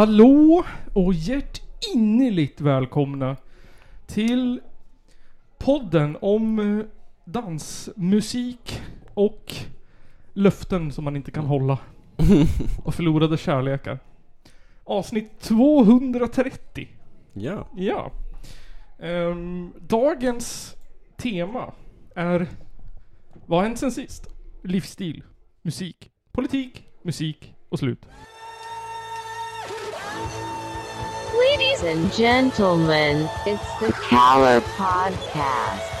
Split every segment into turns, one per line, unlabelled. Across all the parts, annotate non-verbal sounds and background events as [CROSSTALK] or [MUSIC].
Hallå och hjärtinnerligt välkomna till podden om eh, dansmusik och löften som man inte kan hålla. Och förlorade kärlekar. Avsnitt 230.
Ja.
Ja. Ehm, dagens tema är Vad har hänt sen sist? Livsstil, musik, politik, musik och slut.
Ladies and gentlemen, it's the Caller Podcast.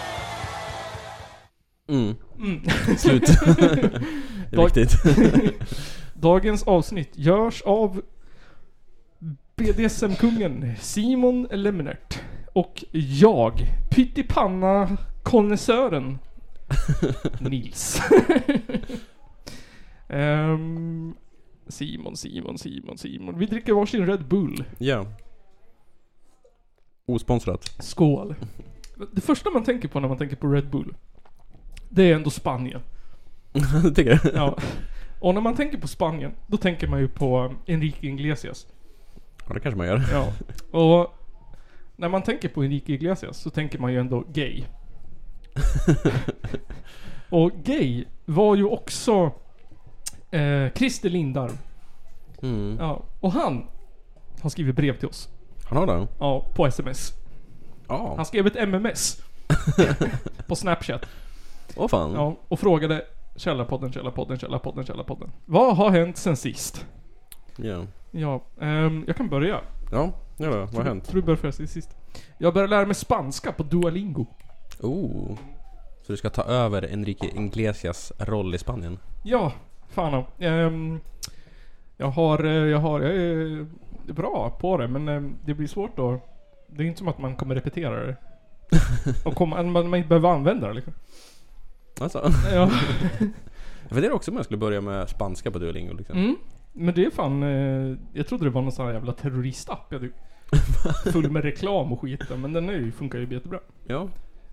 Mm.
Mm.
[LAUGHS]
[LAUGHS]
Slut. det är
Dag- [LAUGHS]
viktigt.
Dagens avsnitt görs av BDSM-kungen Simon Lemnert och jag, pyttipanna konnässören Nils. Ehm, Simon, Simon, Simon, Simon. Vi dricker varsin Red Bull.
Ja. Osponsrat.
Skål. Det första man tänker på när man tänker på Red Bull, det är ändå Spanien.
[LAUGHS] det tycker jag.
Ja. Och när man tänker på Spanien, då tänker man ju på ehm, Enrique Iglesias.
Ja, det kanske man gör.
Ja. Och när man tänker på Enrique Iglesias så tänker man ju ändå
[LAUGHS]
gay. Och gay var ju också eh, Christer Lindarw.
Mm.
Ja. Och han har skrivit brev till oss.
Han har det?
Ja, på sms.
Ja.
Han skrev ett
[LAUGHS]
MMS. på Snapchat.
Åh fan.
Ja, och frågade Källarpodden, Källarpodden, Källarpodden, Källarpodden. Vad har hänt sen sist?
Ja.
Ja, ehm, jag kan börja.
Ja, ja då. Vad har hänt?
Tror du börjar först eller sist? Jag började lära mig spanska på Duolingo.
Oh. Så du ska ta över Enrique Iglesias roll i Spanien?
Ja, fan om. Ehm, Jag har, eh, jag har, jag är bra på det men ehm, det blir svårt då. Det är inte som att man kommer repetera det. Och komma, man, man inte behöver använda det liksom.
Alltså.
Ja.
Jag funderar också om jag skulle börja med spanska på Duolingo liksom.
Mm. Men det är fan, eh, jag trodde det var någon sån här jävla terroristapp. Jag typ. Full med reklam och skit men den är ju, funkar ju jättebra.
Ja.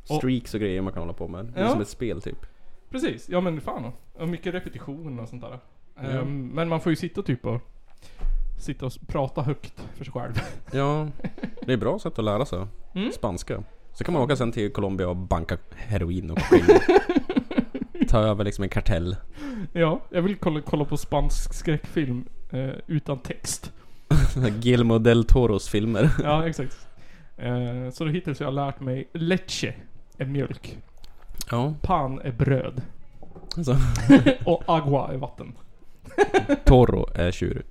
Och-
Streaks och grejer man kan hålla på med. Det är
Ja.
som ett spel typ.
Precis, ja men fan och mycket repetition och sånt där. Ehm,
Ja.
Men man får ju sitta typ och Sitta och s- prata högt för sig själv.
Ja. Det är ett bra sätt att lära sig.
Mm.
Spanska. Så kan man åka sen till Colombia och banka heroin och kokain. Ta över liksom en kartell.
Ja, jag vill kolla, kolla på spansk skräckfilm eh, utan text.
Guillermo del Toros filmer. [LAUGHS]
Ja, exakt. Eh, så då hittills har jag lärt mig leche är mjölk,
Ja.
pan är bröd
Alltså,
[LAUGHS] och agua är
[LAUGHS]
vatten.
Toro är tjur.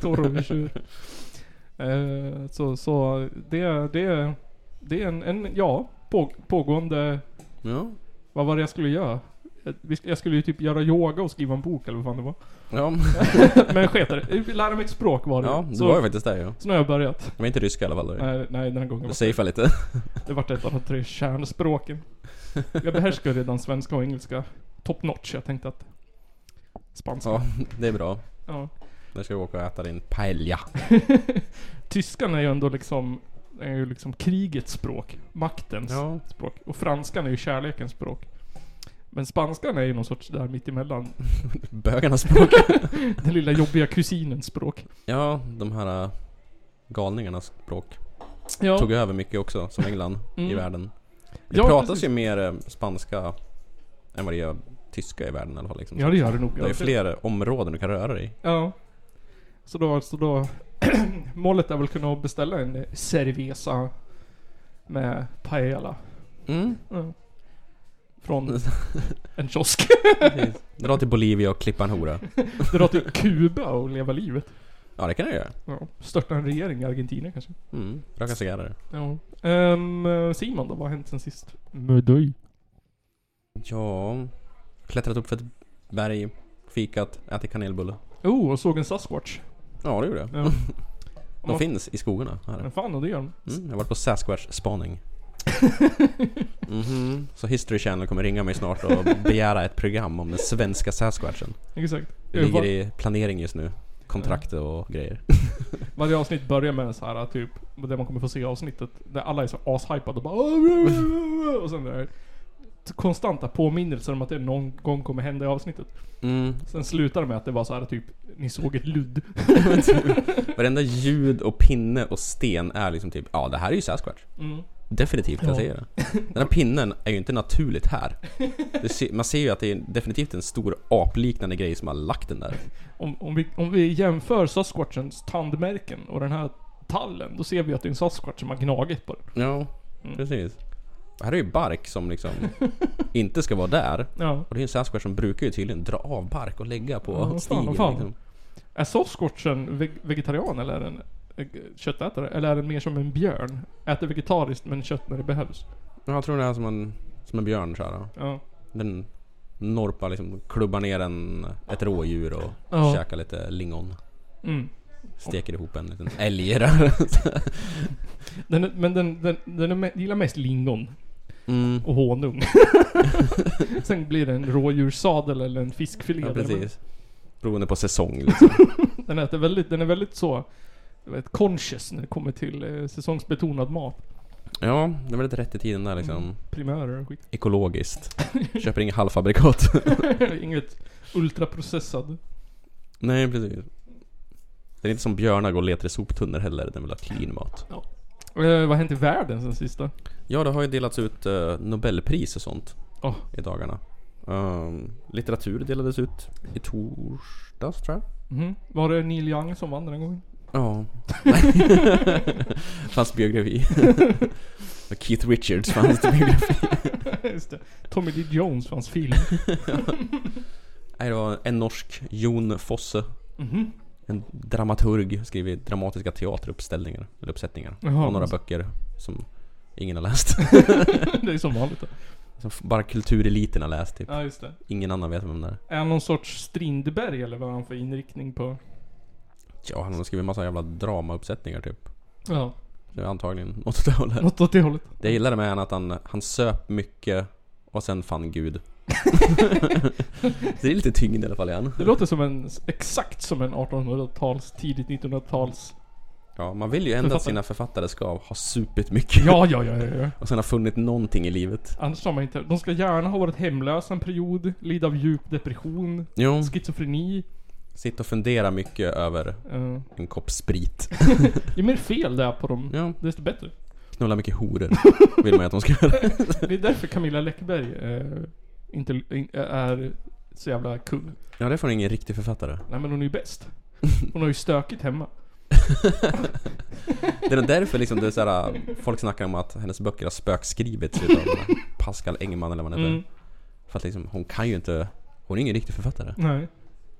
Toro är tjur. Eh, så, så det, det, det är en, en ja, på, pågående,
Ja.
vad var det jag skulle göra? Eh, vi sk- Jag skulle ju typ göra yoga och skriva en bok eller vad fan det
[LAUGHS]
var.
Ja,
Men jag sket i det. Lära mig ett språk var det.
ja det
så,
var ju faktiskt det ja.
så nu har jag börjat.
De är inte ryska i alla fall. då.
Nej, nej den här gången
Jag
var
safear lite.
Det vart ett av de tre kärnspråken. Jag behärskar redan svenska och engelska top notch. Jag tänkte att spanska.
Ja,
Ja.
det är bra. Nu ska vi åka och äta din paella.
Tyskan är ju ändå liksom, är ju liksom krigets språk. Maktens
Ja.
språk. Och franskan är ju kärlekens språk. Men spanskan är ju någon sorts där mittemellan. [LAUGHS]
Bögarnas språk.
Den lilla jobbiga kusinens språk.
Ja, de här äh, galningarnas språk
Ja,
tog över mycket också, som England i
Mm.
världen. Det
Ja,
pratas
precis.
ju mer äh, spanska än vad det gör tyska i världen i alla fall. Liksom.
ja det gör det nog.
det är ju fler eh, områden du kan röra dig i.
Ja. Så då, så då [CLEARS THROAT] målet är väl kunna beställa en eh, cerveza med paella.
Mm.
Ja. Från [LAUGHS] en [LAUGHS] kiosk.
precis. Dra till Bolivia och klippa en hora.
Dra till [LAUGHS] Kuba och leva livet.
Ja, det kan jag göra.
Ja. Störta en regering i Argentina kanske.
Mm. Röka cigarrer.
Ja. Ehm, Simon då, vad har hänt sen sist? Med dig?
Ja, klättrat upp för ett berg, fikat, ätit kanelbulle.
Oh, och såg en Sasquatch.
Ja, det gjorde jag. [LAUGHS]
Ja.
De
Man-
finns i skogarna här.
Men fan, och det gör de.
Mm, jag har varit
[LAUGHS]
på Sasquatch-spaning. Mhm. Så History Channel kommer ringa mig snart och begära ett program om den svenska Sasquatchen.
Exakt.
Det ligger i planering just nu. Kontrakt och grejer.
Varje avsnitt börjar med en så här typ,
[LAUGHS]
där man kommer få se avsnittet, där alla är så ashypade och bara "Åh, bla, bla, bla", Och sen där konstanta påminnelser om att det någon gång kommer hända i avsnittet.
Mm. [LAUGHS]
Sen slutar det med att det var så här typ, ni såg ett ludd.
typ. Varenda ljud och pinne och sten är liksom typ, ja det här är ju Sasquatch.
Mm.
Definitivt kan jag
Ja.
säga det. Den här pinnen är ju inte naturligt här. Det se, man ser ju att det är definitivt en stor apliknande grej som har lagt den där.
Om, om, vi, om vi jämför Sasquatchens tandmärken och den här tallen, då ser vi att det är en Sasquatch som har gnagit på den.
Ja,
Mm.
precis. Och Här är ju bark som liksom inte ska vara där.
Ja.
Och det är ju en Sasquatch som brukar ju tydligen dra av bark och lägga på
Ja, vad fan,
stigen.
vad fan.
Liksom.
Är Sasquatchen veg- vegetarian eller är den eh, köttätare? Eller är den mer som en björn? Äter vegetariskt men kött när det behövs.
Ja, jag tror det är som en, som en björn så här. då.
Ja.
Den norpar liksom, klubbar ner en, ett rådjur och
Ja.
käkar lite lingon.
Mm.
Steker ihop en liten älg där.
Den, är- men den, den, den är, me- gillar mest lingon
[LAUGHS] mm.
och honung. [LAUGHS] Sen blir det en rådjurssadel eller en fiskfilé.
Ja,
där, men
precis. Beroende på säsong liksom. [LAUGHS]
Den, äter väldigt, den är väldigt så... Jag vet, conscious när det kommer till eh, säsongsbetonad mat.
Ja, det var lite rätt i tiden där liksom.
Mm. Primörer och skit.
Ekologiskt.
[LAUGHS]
Köper inga halvfabrikat. [LAUGHS]
Inget ultraprocessad. Eh,
Nej, precis. Den är inte som björnar går och letar i soptunnor heller. Den vill ha clean mat.
Eh, vad har hänt i världen sen sista?
Ja, det har ju delats ut eh, Nobelpris och sånt
Åh.
i dagarna. Ehm, litteratur delades ut i torsdags tror jag.
Mhm. Var det Neil Young som vann den här gången? [LAUGHS]
Ja. [LAUGHS] fanns [LAUGHS] biografi. Och Keith Richards fanns det [LAUGHS] biografi.
Just det. Tommy Lee Jones för hans [LAUGHS] film.
Nej, det var en norsk, Jon Fosse.
Mhm.
En dramaturg, skriver dramatiska teateruppställningar, eller uppsättningar.
Jaha.
Och några böcker som ingen har läst. [LAUGHS]
[LAUGHS] det är som vanligt då.
Som bara kultureliten har läst typ.
Ja, just det.
Ingen annan vet vem det är.
Är han någon sorts Strindberg eller vad har han för inriktning på?
Ja, han har skrivit massa jävla dramauppsättningar typ.
Ja,
Så det är antagligen åt det hållet.
något åt det hållet.
Det jag gillade med honom att han, han söp mycket och sen fann Gud.
[LAUGHS]
det är lite tyngd i alla fall i han.
Det låter som en, exakt som en 1800-tals, tidigt 1900-tals...
Ja, man vill ju ändå att
Författare.
sina författare ska ha supit mycket.
Ja, ja, ja, ja, ja.
[LAUGHS] Och sen ha funnit någonting i livet.
Annars har man inte... De ska gärna ha varit hemlösa en period, lida av djup depression,
Jo.
schizofreni.
Sitta och fundera mycket över
eh,
en
[LAUGHS]
kopp sprit.
ju mer fel det är på dem,
Ja,
desto bättre.
knulla mycket horor. Vill man ju att de ska
[LAUGHS]
göra.
Det är därför Camilla Läckberg eh, inte in, eh, är så jävla kul.
Ja, det får ingen riktig författare.
Nej men hon är ju bäst. Hon har ju stökigt hemma.
Det är därför liksom det är såhär, folk snackar om att hennes böcker har
[LAUGHS]
spökskrivits utav Pascal Engman eller vad han heter.
Mm,
För att liksom, hon kan ju inte, hon är ingen riktig författare.
nej.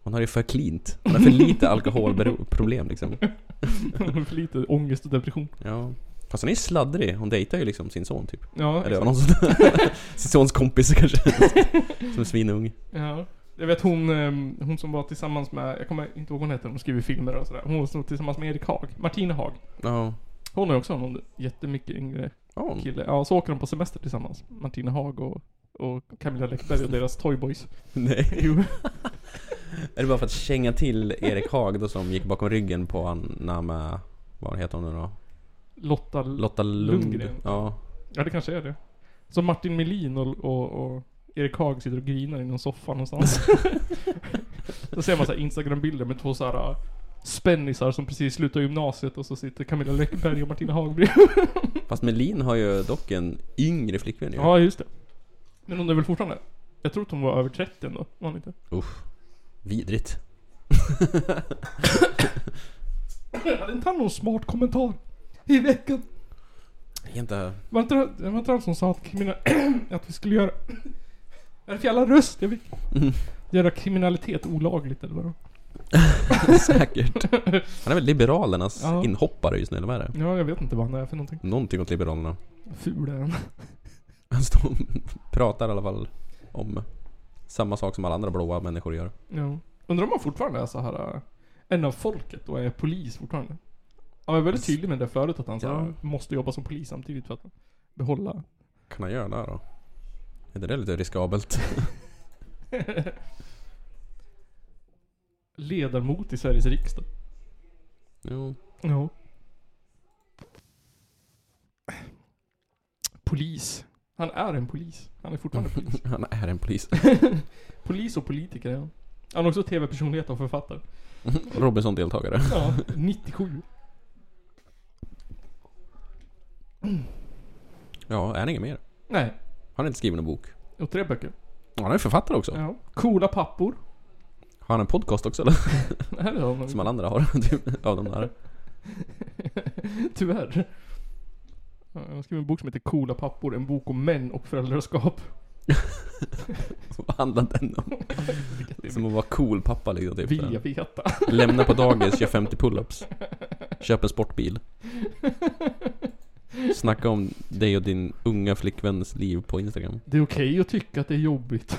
Hon har ju för cleant. Hon har för lite alkoholproblem liksom.
Hon har för lite ångest och depression.
Ja. Fast hon är sladdrig. Hon dejtar ju liksom sin son typ.
Ja, exakt.
Eller var någon sån där. [LAUGHS] Sin sons kompis kanske. Som är svinung.
Ja. Jag vet hon, ehm, hon som var tillsammans med, jag kommer inte ihåg vad hon heter, hon skriver filmer och sådär. Hon som var tillsammans med Erik Haag, Martina Haag.
Ja.
Hon är också någon jättemycket yngre
Ja, hon-
kille. Ja, så åker de på semester tillsammans. Martina Haag och, och Camilla Läckberg och deras Toyboys.
Nej.
Jo.
Är det bara för att känga till Erik Haag då som gick bakom ryggen på han när han med, vad heter hon nu då?
Lotta,
Lotta Lund.
Lundgren.
Ja.
ja det kanske är det. Så Martin Melin och, och, och Erik Haag sitter och grinar i någon soffa någonstans. [LAUGHS] Då ser man så här Instagram-bilder med två så här äh, spännisar som precis slutar gymnasiet och så sitter Camilla Läckberg och Martina Haag bredvid.
Fast Melin har ju dock en yngre flickvän
[LAUGHS]
ju.
Ja, just det. Men hon är väl fortfarande... Jag tror att hon var över 30 ändå, var hon inte?
Usch. Vidrigt.
Hade inte han någon smart kommentar? I veckan?
Jag är Inte...
Var inte, det var inte han som sa att kriminal... [CLEARS THROAT] att vi skulle göra... Är det för jävla röst jag fick? Göra kriminalitet olagligt eller vadå?
[LAUGHS] Säkert. Han är väl Liberalernas
Ja.
inhoppare just nu, eller vad är det?
Ja, jag vet inte vad han är för någonting.
Någonting åt Liberalerna.
Ful är han.
[LAUGHS] Han står och Alltså, pratar i alla fall om samma sak som alla andra blåa människor gör.
Ja. Undrar om han fortfarande är så här äh, en av folket och är polis fortfarande? Han var väldigt tydlig med det förut att han så här, måste jobba som polis samtidigt för att behålla...
Kan han göra det här då? Är det där lite riskabelt?
Ledamot i Sveriges riksdag.
Jo.
Ja. Polis. Han är en polis. Han är [LAUGHS] fortfarande polis.
[LAUGHS] Han är en polis. [LAUGHS]
Polis och politiker är han. Han är också tv-personlighet och författare.
Robinson-deltagare.
[LAUGHS] Ja, 97.
Ja, är han inget mer?
Nej,
Han har inte skrivit någon bok.
och tre böcker.
Ja, Han är författare också.
Ja. Coola pappor. [LAUGHS]
Har han en podcast också [LAUGHS] eller?
Det här är honom.
Som alla andra har. [LAUGHS] typ, Av de där.
Tyvärr. Ja, Han har skrivit en bok som heter Coola pappor. En bok om män och föräldraskap.
Vad handlar den om? Som att vara cool pappa liksom. Typ.
Vill jag veta. [LAUGHS]
Lämna på dagis, kör 50 pull-ups. Köp en sportbil. Snacka om dig och din unga flickväns liv på Instagram.
Det är okej att tycka att det är jobbigt.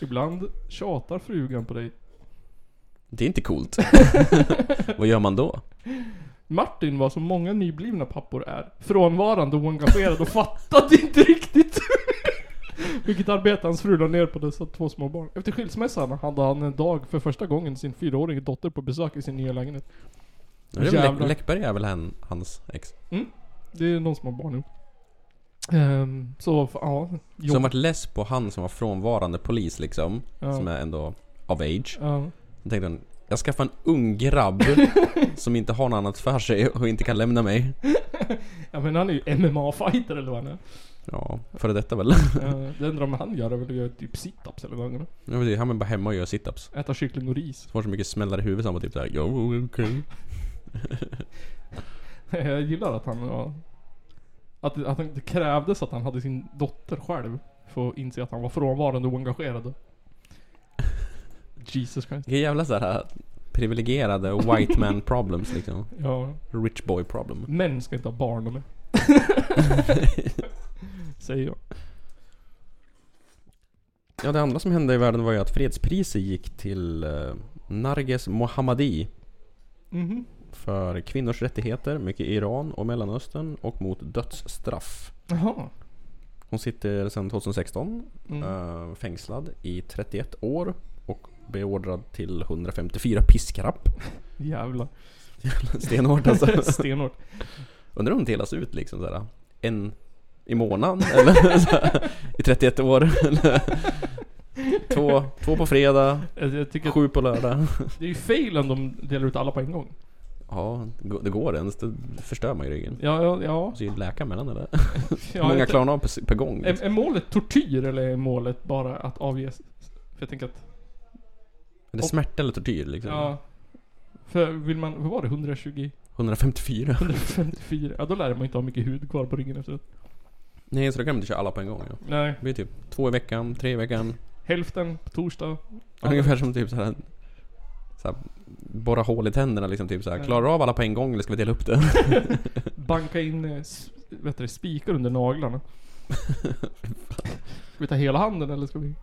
Ibland tjatar frugan på dig.
Det är inte coolt.
[LAUGHS]
Vad gör man då?
Martin var som många nyblivna pappor är. Frånvarande och oengagerad och fattade inte riktigt [LAUGHS] vilket arbete hans fru la ner på dessa två små barn. Efter skilsmässan hade han en dag för första gången sin fyraårige dotter på besök i sin nya lägenhet.
Det är väl
Jävlar.
Läck- Läckberg är väl han, hans ex?
Det är någon som har barn nu. Ehm, så, f- ja. jobb-
Som varit less på han som var frånvarande polis liksom.
ja,
Som är ändå of age.
ja.
Då tänkte han, jag skaffar en
[LAUGHS]
ung grabb som inte har något annat för sig och inte kan lämna mig.
ja men han är ju MMA-fighter eller vad han
[LAUGHS]
är.
Ja, före detta väl. [LAUGHS]
Eh, det enda man han gör är väl att göra typ situps eller något.
Jag vet inte, Han är bara hemma och gör situps.
Äta kyckling och ris. [LAUGHS]
Får så mycket smällar i huvudet så han bara typ såhär, jo okej.
Jag gillar att han var... Att, att han, det krävdes att han hade sin dotter själv. För att inse att han var frånvarande och
[LAUGHS]
oengagerad. Jesus Christ.
Vilka jävla såhär privilegierade white man problems liksom.
Ja.
Rich boy problem.
Män ska inte ha barn
[LAUGHS]
de är. [LAUGHS] Säger jag.
Ja, det andra som hände i världen var ju att fredspriset gick till eh, Narges Mohammadi
Mhm.
för kvinnors rättigheter, mycket i Iran och Mellanöstern och mot dödsstraff.
Jaha.
Hon sitter sedan 2016
Mm.
eh, fängslad i 31 år och beordrad till 154 piskrapp. [LAUGHS]
Jävlar. [LAUGHS]
Stenhårt alltså.
Stenhårt.
Undrar om det delas ut liksom såhär en i månaden eller såhär, i 31 år. Eller, två, två på fredag,
Jag, Alltså, jag tycker att
sju på lördag.
det är ju fel om de delar ut alla på en gång.
Ja, det går- det går ens. Det förstör man ju ryggen.
Ja, ja, ja.
Så är det läkare mellan eller?
ja
Hur många
jag-
klarar man av per, per gång? liksom.
Är, är målet tortyr eller är målet bara att avge... För jag tänker att...
Är det smärta eller tortyr liksom?
Ja. För vill man... Vad var det? 120?
154?
154? Ja, då lär man inte ha mycket hud kvar på ryggen efteråt.
[LAUGHS] Nej, så då kan man inte köra alla på en gång. Ja.
Nej.
Det blir typ två i veckan, tre i veckan.
Hälften på torsdag.
[LAUGHS] Ungefär som typ såhär... såhär borra hål i tänderna liksom typ såhär.
Ja.
Klarar du av alla på en gång eller ska vi dela upp det?
Banka in eh, s- vad heter det, spikar under naglarna. Ska vi ta hela handen eller ska vi...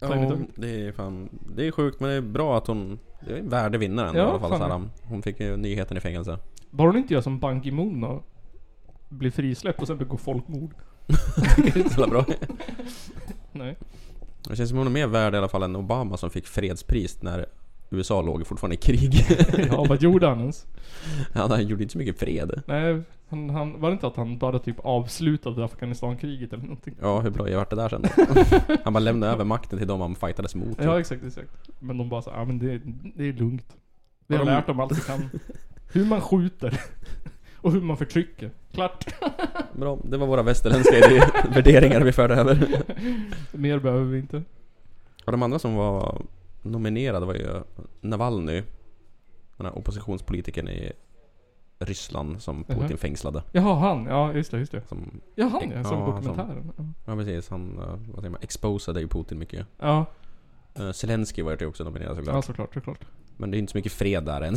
Ta in i
Ja,
tungt.
det är fan... Det är sjukt men det är bra att hon... Det är en värdig vinnare
Ja,
i alla fall.
fan.
Såhär, hon fick ju nyheten i fängelse.
Bara hon inte gör som Ban Ki-Moon och blir frisläppt och sen begår folkmord. [LAUGHS]
det är inte så jävla bra.
Nej.
Det känns som hon är mer värd i alla fall än Obama som fick fredspris när USA låg fortfarande i krig.
[LAUGHS] Ja, vad gjorde han ens?
[LAUGHS] Han han gjorde inte så mycket fred.
Nej, han, han, var det inte att han bara typ avslutade Afghanistankriget eller någonting?
Ja, hur bra jag vart det där sen
[LAUGHS]
då? Han bara lämnade över makten till de han fightades mot.
Ja, exakt, exakt. Men de bara så, ja men det, det är lugnt. Vi har
Ja, de-
lärt dem allt vi kan.
[LAUGHS]
Hur man skjuter. [LAUGHS] Och hur man förtrycker. Klart.
Bra, det var våra västerländska
[LAUGHS]
idé- värderingar vi förde över.
Mer behöver vi inte.
Och de andra som var nominerade var ju Navalny. Den här oppositionspolitikern i Ryssland som Putin
Mhm.
fängslade.
Jaha, han. Ja, just det, just det.
Som,
Ja, han ja, som
Ja,
dokumentären.
ja precis, han eh, vad säger man, exposade ju Putin mycket.
Ja,
Uh, Zelensky var ju också nominerad såklart.
ja såklart, såklart.
Men det är inte så mycket fred där än. [LAUGHS]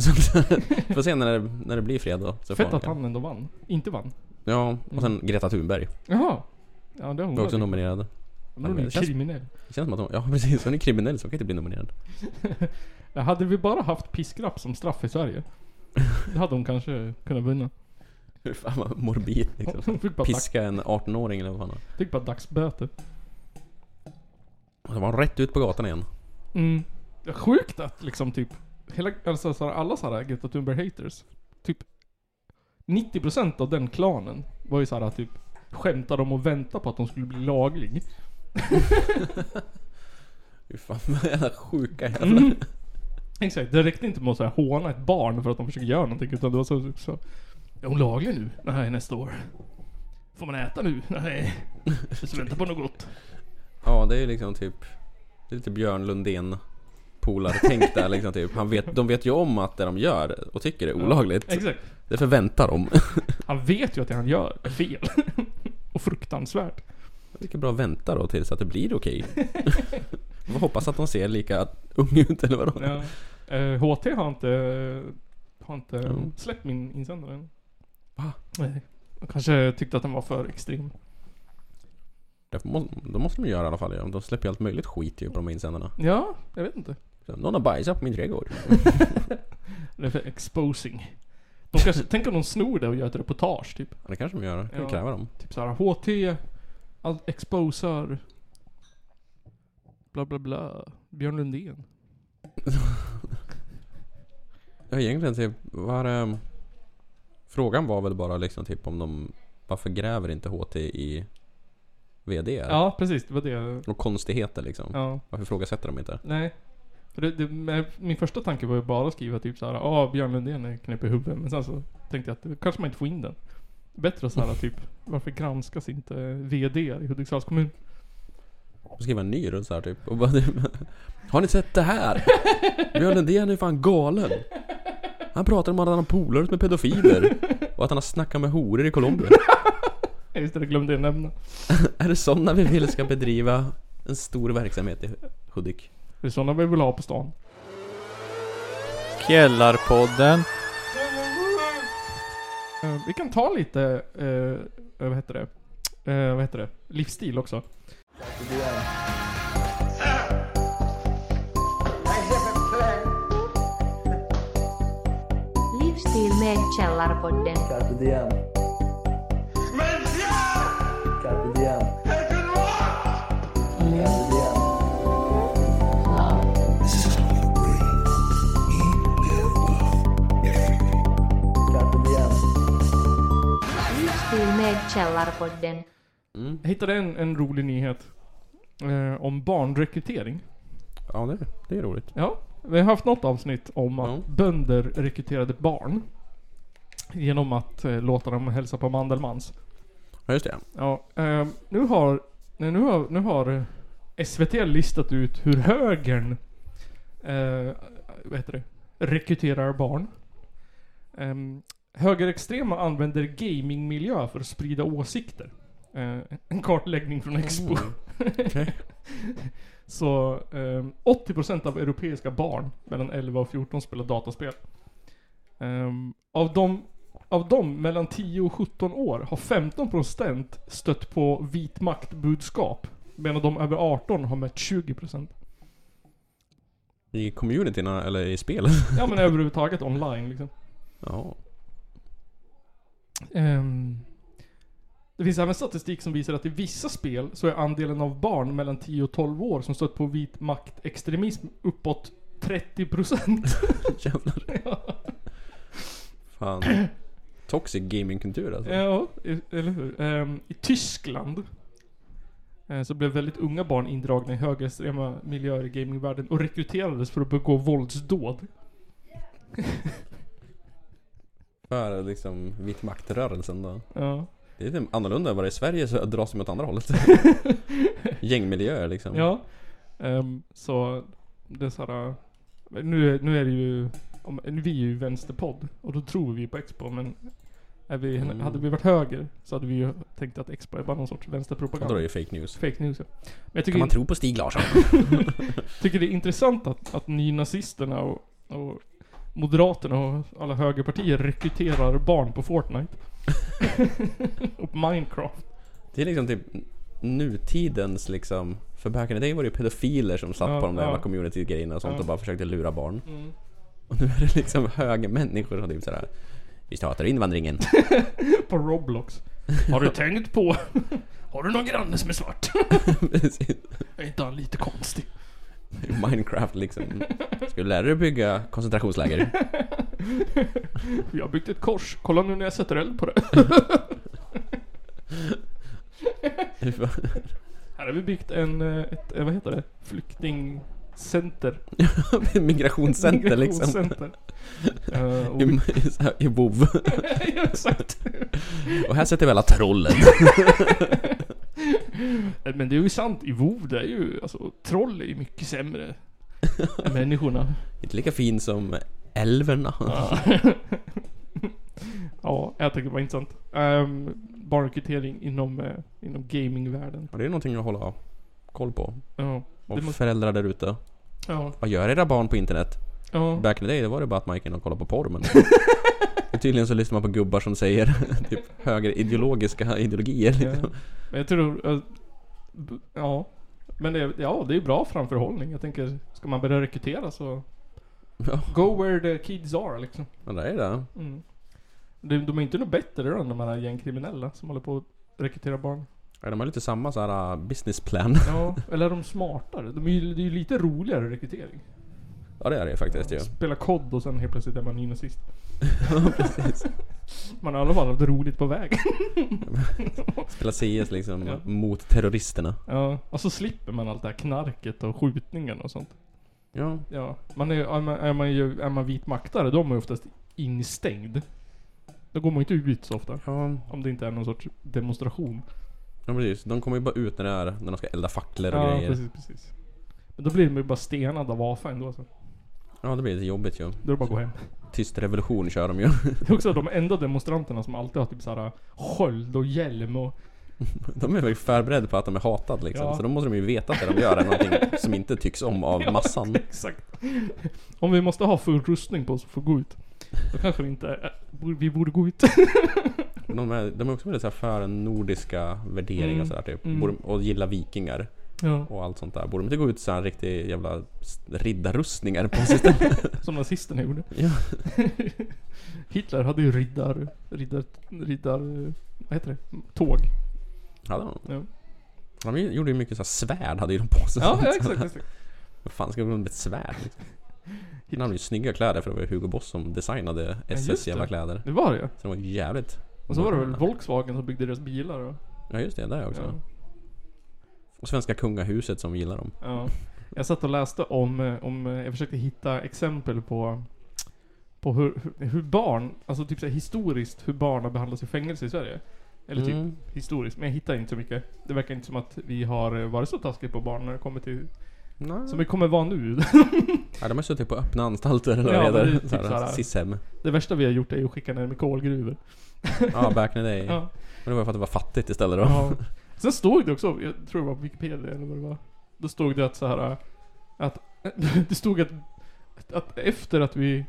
Får se när det, när det blir fred då. Så
Fett
får
att han ändå vann. Inte vann.
Ja, och sen Greta Thunberg.
Jaha. Ja, det har hon
Var också Alltså-
varit.
nominerad.
Men hon är ju
Känns-
kriminell.
Det känns som att hon, ja [LAUGHS] precis, hon är kriminell så hon kan inte bli nominerad. [LAUGHS]
Ja, Hade vi bara haft piskrapp som straff i
[LAUGHS]
Sverige. Då hade hon kanske kunnat vinna.
Hur fan vad morbid liksom.
Hon fick bara, dags,
Piska en 18-åring eller vad fan.
fick bara dagsböter.
Och så var hon rätt ut på gatan igen.
Mm. Det är Sjukt att liksom typ, hela, alltså, så här, alla såhär Greta Thunberg haters, typ 90% av den klanen var ju såhär typ skämtade om och väntade på att de skulle bli laglig.
Fy fan, [LAUGHS] vad jävla sjuka jävlar.
Mm. [LAUGHS] Exakt, det räckte inte med att så här, håna ett barn för att de försöker göra någonting utan det var så, så Är hon laglig nu? Nej, nästa år. Får man äta nu? Nej. Jag ska vänta på något gott.
Ja, det är ju liksom typ... Det är lite Björn Lundén polartänk där liksom typ. Han vet, de vet ju om att det de gör och tycker är olagligt.
Exakt.
Det förväntar de.
Han vet ju att det han gör är fel. [LAUGHS] och fruktansvärt.
Det är bra att vänta då tills att det blir okej. [LAUGHS] Man får hoppas att de ser lika unga ut eller vadå?
Ja. Eh, HT har inte, har inte
Mm.
släppt min insändare än.
Va?
Nej. De kanske tyckte att den var för extrem.
Därför må- Då måste de göra i alla fall. ja. De släpper ju allt möjligt skit ju på de här insändarna.
Ja, jag vet inte.
Så, Någon har bajsat på min trädgård.
Det är för exposing. De kanske, tänk om de snor det och gör ett reportage typ.
Ja, det kanske de gör. Det kan vi
Ja.
kräva dem.
Typ såhär HT, allt exposar. Bla bla bla. Björn Lundén.
Ja, egentligen typ, var det... Frågan var väl bara liksom typ om de... Varför gräver inte HT i VD?
Ja, precis. Det var det.
Och konstigheter liksom.
Ja.
Varför ifrågasätter de inte?
Nej. För det, det, men min första tanke var ju bara att skriva typ såhär, ah Björn Lundén är knäpp i huvudet. Men sen så tänkte jag att det, kanske man inte får in den. Bättre såhär typ, varför granskas inte VD i Hudiksvalls kommun?
Och skriva en ny runt så här typ. Och bara, [LAUGHS] har ni sett det här? Björn Lundén är fan galen. Han pratar om att han har polare med pedofiler. Och att han har snackat med horor i Colombia.
Ja, Just det, det glömde jag nämna.
Är det sådana vi vill ska bedriva en stor verksamhet i Hudik?
Det är sådana vi vill ha på stan.
Källarpodden.
Eh, vi kan ta lite, eh, eh, vad heter det? Eh, vad heter det? Livsstil också.
Livsstil med Källarpodden.
Carpe diem. Carpe diem. Carpe diem. Carpe diem.
Livsstil med Källarpodden.
Mm,
Jag hittade en, en rolig nyhet. Eh, om barnrekrytering.
Ja, det, det är roligt.
Ja, vi har haft något avsnitt om att
Ja.
bönder rekryterade barn. Genom att eh, låta dem hälsa på Mandelmans.
Ja, just det.
Ja, eh, nu har... Nej, nu har, nu har eh, SVT listat ut hur högern... Eh, vad heter det? Rekryterar barn. Ehm, högerextrema använder gamingmiljö för att sprida åsikter. Eh, en kartläggning från Expo.
Okej.
[LAUGHS] Så ehm, 80% av europeiska barn mellan 11 och 14 spelar dataspel. Ehm, av, dem, av dem mellan 10 och 17 år har 15% stött på vit maktbudskap. Medan de över 18 har mött 20%.
I communityna eller i spelet?
Ja men överhuvudtaget online liksom.
[LAUGHS] Ja.
Ehm, det finns även statistik som visar att i vissa spel så är andelen av barn mellan 10 och 12 år som stött på vit maktextremism uppåt 30%.
Jävlar.
ja.
Fan. Toxic gamingkultur alltså.
Eh, Ja, i- eller hur? Ehm, I Tyskland eh, så blev väldigt unga barn indragna i högerextrema miljöer i gamingvärlden och rekryterades för att begå våldsdåd.
För liksom vit maktrörelsen då.
Ja,
Det är lite annorlunda än vad det är i Sverige så dras de åt andra hållet.
[LAUGHS]
Gängmiljöer liksom.
ja. Ehm, så det är såhär... Nu, är- nu är det ju... Om, vi är ju vänsterpodd och då tror vi på Expo men... Är vi,
Mm.
Hade vi varit höger så hade vi ju tänkt att Expo är bara någon sorts
Och då är
vänsterpropaganda.
det ju fake news.
Fake news ja. Men jag tycker
Kan man tro på Stig Larsson?
tycker det är intressant att, att nynazisterna och, och Moderaterna och alla högerpartier rekryterar barn på
[LAUGHS]
Fortnite. och på Minecraft.
Det är liksom typ nutidens liksom. För back in the day var det ju pedofiler som satt
Ja,
på de där
ja.
jävla community-grejerna och sånt
Ja.
och bara försökte lura barn. Och nu är det liksom höga människor som typ sådär. Vi
[LAUGHS]
startar invandringen.
På Roblox. Har du tänkt på... [LAUGHS] Har du någon granne som är svart?
Precis.
är inte han lite konstig?
Minecraft liksom. Ska du lära dig att bygga koncentrationsläger?
Jag har byggt ett kors. Kolla nu när jag sätter eld på det. Här har vi byggt en, eh, ett, eh, vad heter det? Flyktingcenter. [LAUGHS]
Migrationscenter liksom.
Migrationscenter.
[LAUGHS]
Eh, och
I,
vi-
i, så här, i WoW.
[LAUGHS] ja, exakt.
Och här sätter vi alla trollen.
Eh, Men det är ju sant. I WoW det är ju, alltså troll är ju mycket sämre.
[LAUGHS]
än människorna.
Inte lika fin som älverna. [LAUGHS]
Ja. [LAUGHS] ja, jag tycker det var intressant. Um, barnrekrytering inom, eh, inom gamingvärlden.
Och det är någonting att hålla koll på.
Ja, Det
Och
måste-
föräldrar där ute.
ja,
Vad gör era barn på internet?
ja.
Back in the day, det var det bara att man gick in och kollade på
[LAUGHS]
porr men... Och Tydligen så lyssnar man på gubbar som säger [LAUGHS] typ högerideologiska ideologier.
Ja.
Liksom.
Men jag tror... eh, b- Ja. Men det, ja, det är bra framförhållning. Jag tänker, ska man börja rekrytera så...
Ja.
Go where the kids are liksom.
Ja, det är det.
Mm. De, de är inte något bättre då än de här gängkriminella som håller på att rekrytera barn.
Ja, de har lite samma så här uh, business plan. [LAUGHS]
Ja, eller är de smartare? De är ju, det är ju lite roligare rekrytering.
Ja det är det faktiskt ju.
Spela kod och sen helt plötsligt är man ny nazist.
Ja, precis.
Man har i alla fall haft roligt på vägen.
Spela CS liksom
Ja.
mot terroristerna.
Ja, och så slipper man allt det här knarket och skjutningen och sånt.
Ja.
Ja, man är, är, man, är, man, ju- är man vit maktare, då är man ju oftast instängd. Då går man ju inte ut så ofta.
Ja,
Om det inte är någon sorts demonstration.
ja precis. De kommer ju bara ut när det är, när de ska elda facklor och
Ja,
grejer.
precis, precis. Men då blir de ju bara stenade av AFA ändå så.
Ja det blir lite jobbigt ju.
Då är det bara att gå hem. [LAUGHS]
Tyst revolution kör de ju.
Det är också de enda demonstranterna som alltid har typ såhär sköld och hjälm och... [LAUGHS]
De är väl förberedda på att de är hatade liksom.
Ja.
Så då måste de ju veta att det de gör är någonting som inte tycks
[LAUGHS]
om av massan.
typ. Exakt. Om vi måste ha full rustning på oss för att gå ut. Då kanske vi inte... är- Vi borde gå ut. [LAUGHS]
De är, de är också väldigt så här för nordiska värderingar
Mm,
och sådär typ.
mm.
Borde, och gillar vikingar
Ja.
och allt sånt där. Borde de inte gå ut såhär riktig jävla s- riddarrustningar på
[LAUGHS]
sig istället?
Som nazisterna gjorde. [LAUGHS]
ja.
Hitler hade ju riddar... Riddar... Riddar... Vad heter det? Tåg.
Hade de?
Ja,
De gjorde ju mycket så här svärd hade ju de på sig.
ja, ja exakt, exakt.
[LAUGHS] Vad fan ska de med ett svärd liksom? De hade ju snygga kläder för det var ju Hugo Boss som designade
just
SS jävla
det.
kläder.
Det var det ju.
Så det var ju jävligt...
Och så var det väl Volkswagen som byggde deras bilar och...
Ja just det, där också.
Mm. Ja.
Och svenska kungahuset som gillar dem.
ja. Jag satt och läste om, eh, om... eh, Jag försökte hitta exempel på... På hur, hur- hur barn, alltså typ så här historiskt, hur barn har behandlats i fängelse i Sverige. Eller typ
Mm.
historiskt, men jag hittar inte så mycket. Det verkar inte som att vi har eh, varit så taskiga på barn när det kommer till...
Nej.
Som vi kommer vara nu. [LAUGHS]
Ja, de har suttit på öppna anstalter eller
Ja, men
vad
det är
det
typ
heter.
såhär. [LAUGHS]
Såhär, Sishem.
Det värsta vi har gjort är ju att skicka ner dem i kolgruvor.
Ja, back in the day.
Ja.
Men det var för att det var fattigt istället då.
Ja. Sen stod det också, jag tror det var på Wikipedia eller vad det var. Då stod det att så här att [LAUGHS] det stod att, att efter att vi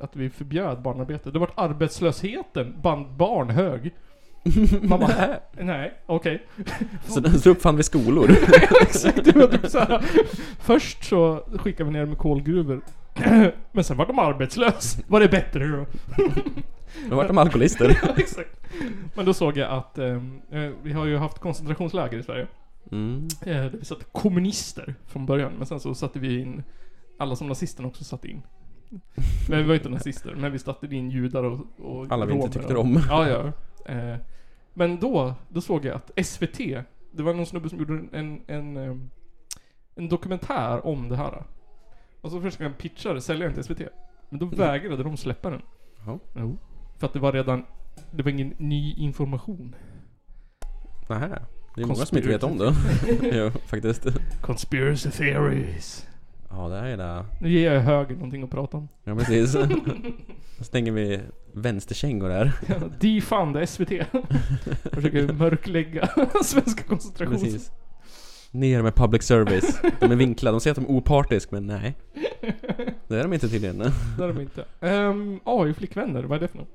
att vi förbjöd barnarbete, då vart arbetslösheten bland barn hög. Man bara, [LAUGHS] nej, okej.
[LAUGHS] Så, den- så uppfann vi skolor.
Exakt, det var typ så här. Först så skickade vi ner dem i kolgruvor. [CLEARS THROAT] Men sen var de arbetslös. Var det bättre då? [LAUGHS]
Då vart de alkoholister.
Ja, Exakt. Men då såg jag att ehm, eh, vi har ju haft koncentrationsläger i Sverige.
Mm.
Eh, Där vi satte kommunister från början, men sen så satte vi in alla som nazisterna också satte in. Men vi var inte nazister, men vi satte in judar och, och
Alla vi inte
romer
tyckte
och-
om.
Ja, ja. Eh, Men då, då såg jag att SVT, det var någon snubbe som gjorde en, en, ehm, en dokumentär om det här. Och så försökte han pitcha det, sälja den till SVT. Men då
Mm.
vägrade de släppa den.
Jaha.
Jo. För att det var redan, det var ingen ny information.
Nähä. Det är många som inte vet om det. [LAUGHS] jo, faktiskt.
Conspiracy theories.
Ja, det här är det.
Nu ger jag höger någonting att prata om.
Ja,
[LAUGHS]
precis. Då stänger vi vänsterkängor här.
[LAUGHS] Defund SVT. Försöker mörklägga [LAUGHS] svenska koncentrations...
Precis. Ner med public service. De är vinklade. De säger att de är opartisk, men nej. Det är de inte tydligen.
Det är de inte. Um, AI-flickvänner, vad är det för något?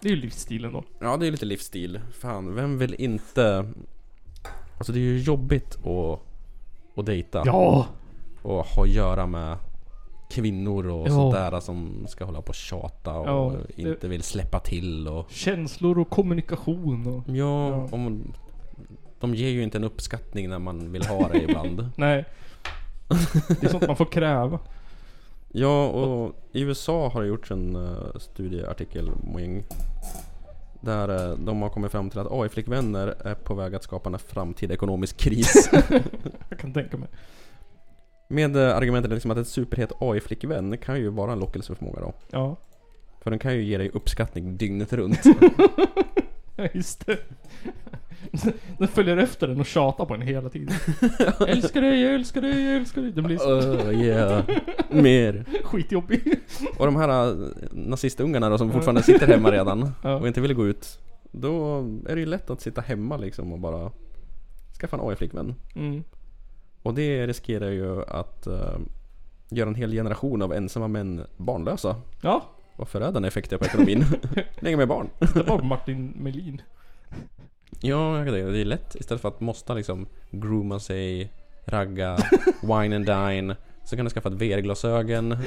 Det är ju livsstilen då.
Ja, det är lite livsstil. Fan, vem vill inte... Alltså det är ju jobbigt att, att dejta.
Ja!
Och ha att göra med kvinnor och
Ja.
sånt där som ska hålla på och tjata och
Ja, det-
inte vill släppa till och...
Känslor och kommunikation och...
Ja,
Ja.
Om, de ger ju inte en uppskattning när man vill ha det ibland.
Nej. Det är sånt man får kräva.
[LAUGHS] Ja, och i USA har det gjorts en eh, studieartikel, Moing, där eh, de har kommit fram till att AI-flickvänner är på väg att skapa en framtida ekonomisk kris.
Jag kan tänka mig.
Med eh, argumentet liksom att en superhet AI-flickvän kan ju vara en lockelse för många då.
Ja,
För den kan ju ge dig uppskattning dygnet runt.
Ja, just det. [LAUGHS] Den följer efter den och tjatar på den hela tiden. Jag älskar dig, jag älskar dig, jag älskar dig. Den blir [LAUGHS] så
Oh, yeah. Mer.
skitjobbig.
Och de här eh, nazistungarna då som fortfarande sitter hemma redan
Ja.
och inte vill gå ut. Då är det ju lätt att sitta hemma liksom och bara skaffa en AI-flickvän.
Mm.
Och det riskerar ju att eh, göra en hel generation av ensamma män barnlösa.
Ja,
Vad förödande effekter på ekonomin. Länge med barn.
det var Martin Melin.
Ja, jag kan tänka det. Det är lätt istället för att måste liksom grooma sig,
[LAUGHS]
ragga, wine and dine. Så kan du skaffa ett VR-glasögon, en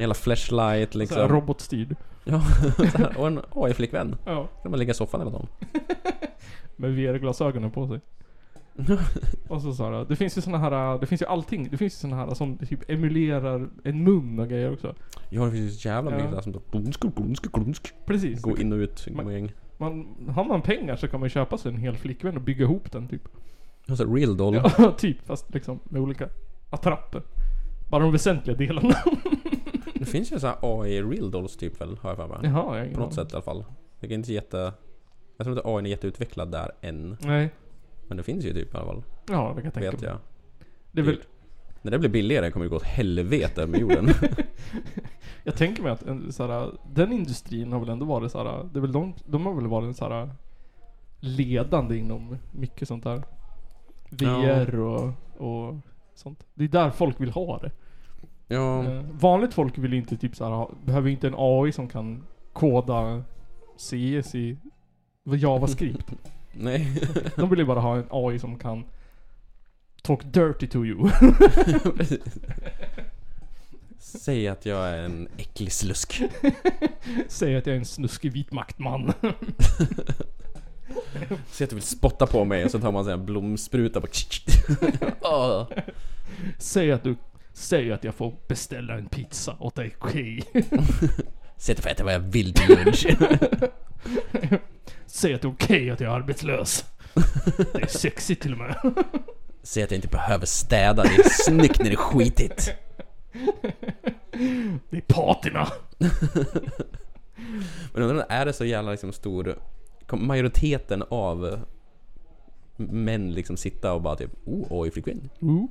jävla flashlight
Så här
liksom.
robotstyrd.
Ja, [LAUGHS] så här. och en AI-flickvän.
Ja.
kan man ligga i soffan hela dagen.
Med VR-glasögonen på
[LAUGHS]
sig. och så sa jag, det finns ju såna här, det finns ju allting. Det finns ju såna här som typ emulerar en mun och grejer också.
Ja, det finns ju så jävla mycket
Ja.
där som då glunsk, glunsk, glunsk.
Precis.
Gå in och ut,
Man-
gäng.
Man, har man pengar så kan man ju köpa sig en hel flickvän och bygga ihop den typ.
Alltså real doll.
Ja, [LAUGHS] typ. Fast liksom med olika attrapper. Bara de väsentliga
[LAUGHS]
delarna.
Det finns ju så här AI real dolls typ väl, har jag för mig.
Jaha, jag har ingen
På något
aning.
sätt i alla fall. Det är inte jätte... Jag tror inte AI är jätteutvecklad där än.
Nej.
Men det finns ju typ i alla fall.
Ja, det kan jag tänka
Vet
mig.
jag.
Det är väl,
När det blir billigare kommer det gå åt helvete med jorden. [LAUGHS]
jag tänker mig att en, så här, den industrin har väl ändå varit så här, det är väl de, de har väl varit så här ledande inom mycket sånt där. VR och, och sånt. Det är där folk vill ha det.
ja,
Eh, Vanligt folk vill inte typ så här, ha- behöver inte en AI som kan koda CS i JavaScript.
nej. [LAUGHS]
De vill ju bara ha en AI som kan Talk dirty to you. [LAUGHS]
Precis. Säg att jag är en äcklig slusk.
Säg att jag är en snuskig vit maktman.
Säg att du vill spotta på mig och så tar man en blomspruta bara... [LAUGHS] Åh.
Säg att du... Säg att jag får beställa en pizza åt dig, okej? [LAUGHS]
Säg att du får äta vad jag vill till [LAUGHS] lunch.
Säg att det är okej att jag är arbetslös. Det är sexigt till och med.
Säg att jag inte behöver städa, det är snyggt när det är skitigt.
Det är patina.
Men undrar, är det så jävla liksom stor... Kommer majoriteten av män liksom sitta och bara typ oh, oj flickvän?
Mm.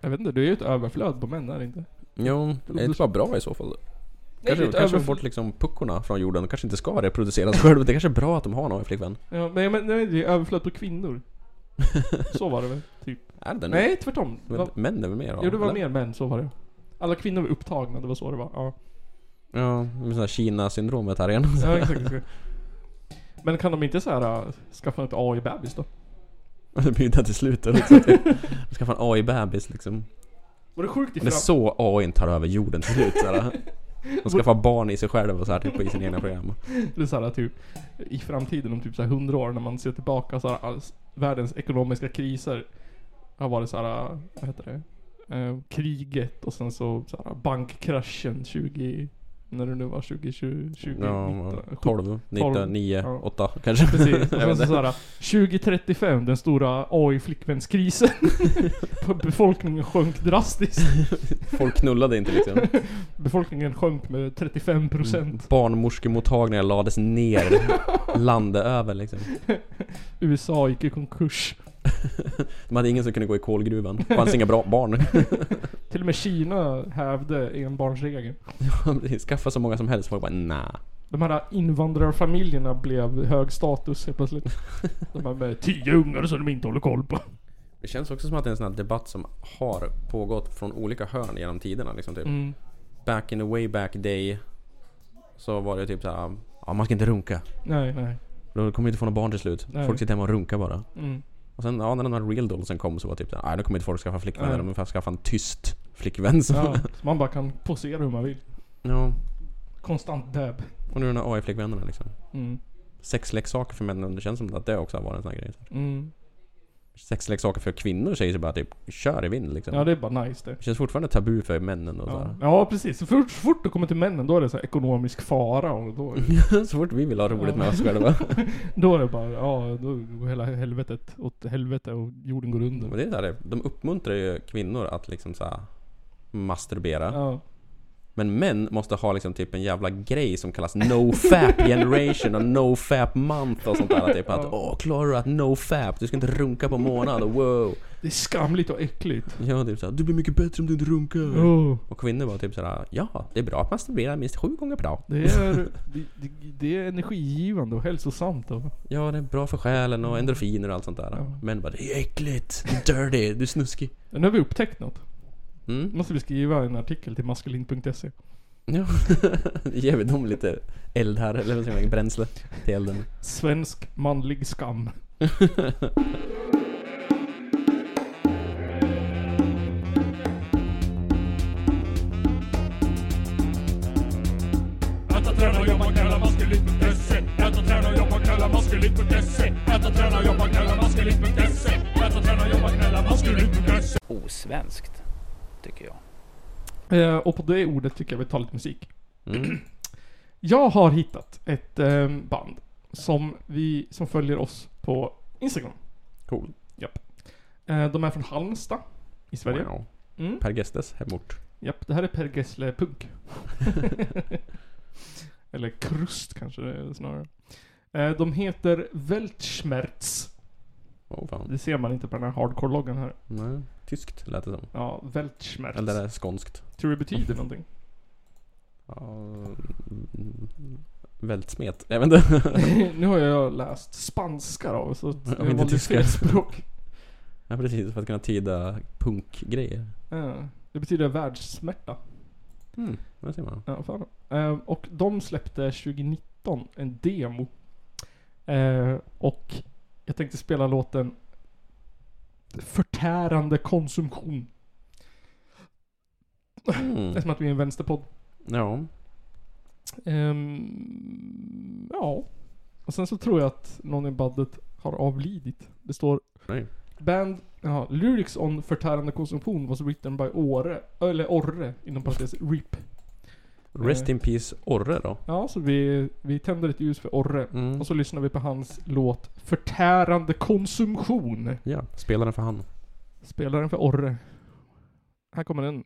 Jag vet inte, det är ju ett överflöd på män, är det inte?
Jo, är det inte bara bra i så fall?
det
Kanske,
är ett
kanske
överfl-
bort liksom puckorna från jorden, kanske inte ska reproduceras själv. Det kanske är bra att de har en AI-flickvän.
Ja, men, men nej, det är överflöd på [LAUGHS] kvinnor. Så var det väl? Typ.
Är det det nu?
Nej, tvärtom.
Men
Va-
Män är väl mer?
Jo, det var
eller?
mer män, så var det. Alla kvinnor var upptagna, det var så det var. Ja,
Ja, det är sån här Kina-syndromet här igen.
[LAUGHS] ja exakt.
[LAUGHS]
exakt. Men kan de inte så här äh, skaffa ett AI-bebis då?
Det blir det till slut. då, liksom. De ska få en AI-bebis liksom.
Var det sjukt i
Det är
fram-
så AI tar över jorden till slut. Såhär. De ska få barn i sig själv och så här, typ, i sina egna program.
Eller så här, typ, i framtiden om typ så här 100 år när man ser tillbaka så här, alls- världens ekonomiska kriser har varit så här, vad heter det? Eh, kriget och sen så, så här, bankkraschen 20, när det nu var 2020, 20,
Ja, 12, 19,
Tolv,
9,
ja.
8 kanske. [LAUGHS]
Precis, och
Jag
sen
vet
så,
inte.
så här, 2035, den stora
[LAUGHS]
AI-flickvänskrisen. Befolkningen sjönk drastiskt.
Folk knullade [LAUGHS] inte liksom.
Befolkningen sjönk med 35%.
Barnmorskemottagningar lades
[LAUGHS]
ner. Landet över liksom. Mm.
USA gick i konkurs.
De hade ingen som kunde gå i kolgruvan. Det fanns inga bra barn. [LAUGHS]
Till och med Kina hävde enbarnsregeln.
Skaffa så många som helst. Folk bara nah.
De här invandrarfamiljerna blev hög status helt [LAUGHS] plötsligt. De här med tio ungar som de inte håller koll på.
Det känns också som att det är en sån här debatt som har pågått från olika hörn genom tiderna. Liksom, typ.
Mm.
Back in the way back day. Så var det typ såhär. Ja, man ska inte runka.
Nej, nej.
Då kommer vi inte få några barn till slut.
Nej.
Folk sitter hemma och runkar bara.
Mm.
Och sen ja, när den här real dollsen kom så var det typ såhär. "Nej, Nu kommer inte folk skaffa flickvänner.
Nej.
De får skaffa en tyst flickvän. Som,
Ja, så man bara kan posera hur man vill.
[LAUGHS] ja.
Konstant dab.
Och nu är den här AI-flickvännerna liksom.
Mm.
Sexleksaker för män. Det känns som att det också har varit en sån här grej.
Mm.
sexleksaker för kvinnor säger sig bara typ kör i vind liksom.
Ja, det är bara nice det.
Det känns fortfarande tabu för männen och
Ja, ja precis. Så fort, så fort det kommer till männen då är det så här ekonomisk fara och då,
sådär. [LAUGHS] Så fort vi vill ha roligt med oss själva.
då är det bara, ja då går hela helvetet åt helvete och jorden går under.
Men det är så här, de uppmuntrar ju kvinnor att liksom så här, masturbera.
Ja.
Men män måste ha liksom typ en jävla grej som kallas No Fap Generation och No Fap Month och sånt där. Typ att
Ja.
åh, klarar du att No Fap? Du ska inte runka på en månad och wow.
Det är skamligt och äckligt.
Ja, typ såhär, du blir mycket bättre om du inte runkar.
Oh,
Och kvinnor var typ såhär, ja, det är bra att masturbera minst sju gånger per dag.
det, är, det, det, det är energigivande och hälsosamt. Och,
Ja, det är bra för själen och endorfiner och allt sånt där.
Ja.
Män bara, det är äckligt, det är dirty, du är snuskig.
nu har vi upptäckt något.
Mm.
måste vi skriva en artikel till maskulin.se.
[LAUGHS] Ja, ger vi dem lite eld här, eller vad säger man, bränsle till elden.
Svensk manlig skam.
Äta, träna, jobba, knöla, maskulin.se Äta, träna, jobba, knöla, maskulin.se Äta, träna, jobba, knöla, maskulin.se Äta, träna, jobba, knöla, maskulin.se
osvenskt, tycker jag.
Eh, och på det ordet tycker jag vi tar lite musik.
Mm.
Jag har hittat ett eh, band som, vi, som följer oss på Instagram.
Cool.
Eh, de är från Halmstad i Sverige.
Wow.
Mm.
Per Gestes hemort.
Japp, det här är Per Gessle Punk. [LAUGHS] Eller Krust kanske det är snarare. Eh, de heter Weltschmerz.
Oh, fan.
Det ser man inte på den här hardcore-loggan här.
Nej, tyskt lät det som.
Ja, Weltschmerz.
Eller är det skånskt?
Tror det betyder någonting.
Ja, mm, Vältsmet? Jag vet inte. [LAUGHS]
[LAUGHS] nu har jag läst spanska då, så att jag
men inte
valde
tyska.
fel
[LAUGHS]
språk.
Ja precis, för att kunna tyda punkgrejer.
Eh, Det betyder världssmärta.
Mm, vad säger man?
Ja, fan. Eh, Och de släppte 2019 en demo. Eh, Och jag tänkte spela låten Förtärande konsumtion. Det är
Mm.
som att vi är en vänsterpodd.
Ja.
Ehm, ja. Och sen så tror jag att någon i bandet har avlidit. Det står...
Nej.
Band... Jaha, lyrics on förtärande konsumtion was written by Åre, eller Orre, inom parentes RIP.
Rest in peace Orre då.
Ja, så vi, vi tänder ett ljus för Orre.
Mm.
Och så lyssnar vi på hans låt Förtärande konsumtion.
Ja, spelaren för han.
Spelar den för Orre. Här kommer den.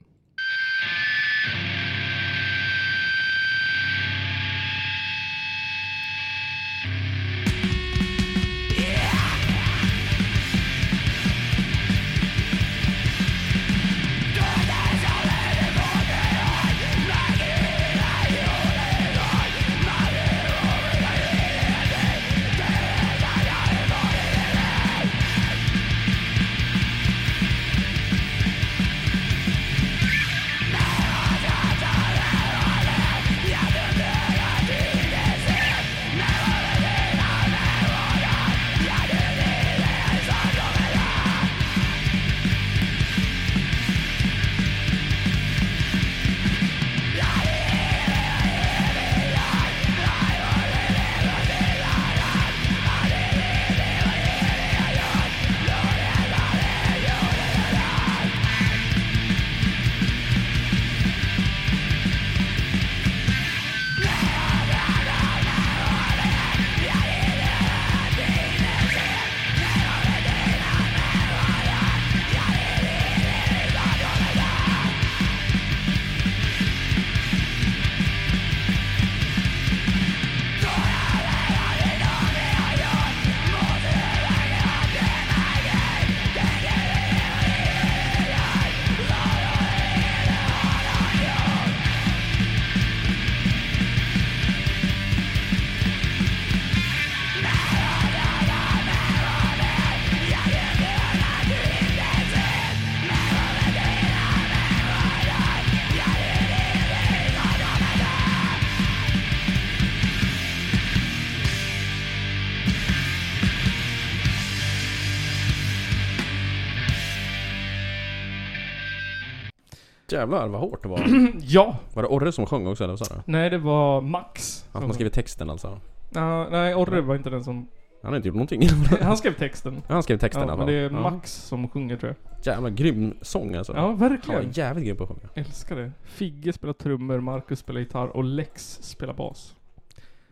Jävlar vad hårt det var.
[CLEARS THROAT] Ja!
Var det Orre som sjöng också eller vad sa du?
Nej, det var Max.
Att man skriver texten alltså?
Ja, nej, Orre var inte den som
Han har inte gjort någonting. [LAUGHS]
Han skrev [LAUGHS] texten.
Han skrev texten i
Ja,
alla
men
fall.
det är Max som sjunger tror jag.
Jävla grym sång alltså.
Ja,
Han var
verkligen.
jävligt grym på att sjunga.
Älskar det. Figge spelar trummor, Marcus spelar gitarr och Lex spelar bas.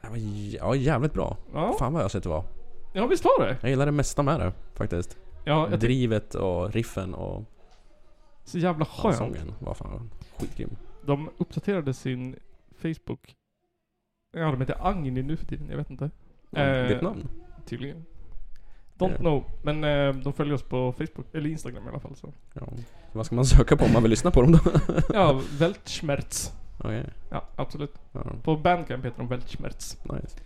Han var jä- Ja, jävligt bra.
Ja,
Fan vad jag sett det var.
ja visst var det?
Jag gillar det mesta med det faktiskt.
Ja, jag tycker
Drivet och riffen och
så jävla
ja,
skönt.
sången var fan skitgrym.
De uppdaterade sin Facebook. Ja, de heter Agni nu för tiden. Jag vet inte.
Ja,
Eh,
Ditt namn?
Tydligen. Don't
Ja.
know. Men eh, de följer oss på Facebook, eller Instagram i alla fall. Så.
Ja. Så Vad ska man söka på om man vill lyssna på dem då? [LAUGHS]
Ja, Weltschmerz.
Okej.
Ja, absolut.
Ja,
På Bandcamp heter de Weltschmerz.
nice.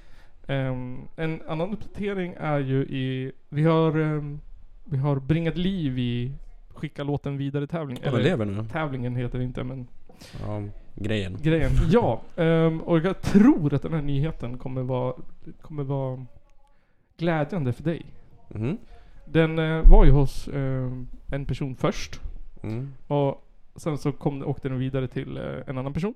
Ehm, en annan uppdatering är ju i... Vi har, ehm, vi har bringat liv i Skicka låten vidare tävling.
Eller lever nu.
tävlingen heter det inte men
Ja, grejen.
grejen. Ja, ehm, och jag tror att den här nyheten kommer vara, kommer vara glädjande för dig.
Mhm.
Den eh, var ju hos ehm, en person först.
Mm.
Och sen så kom, åkte den vidare till eh, en annan person.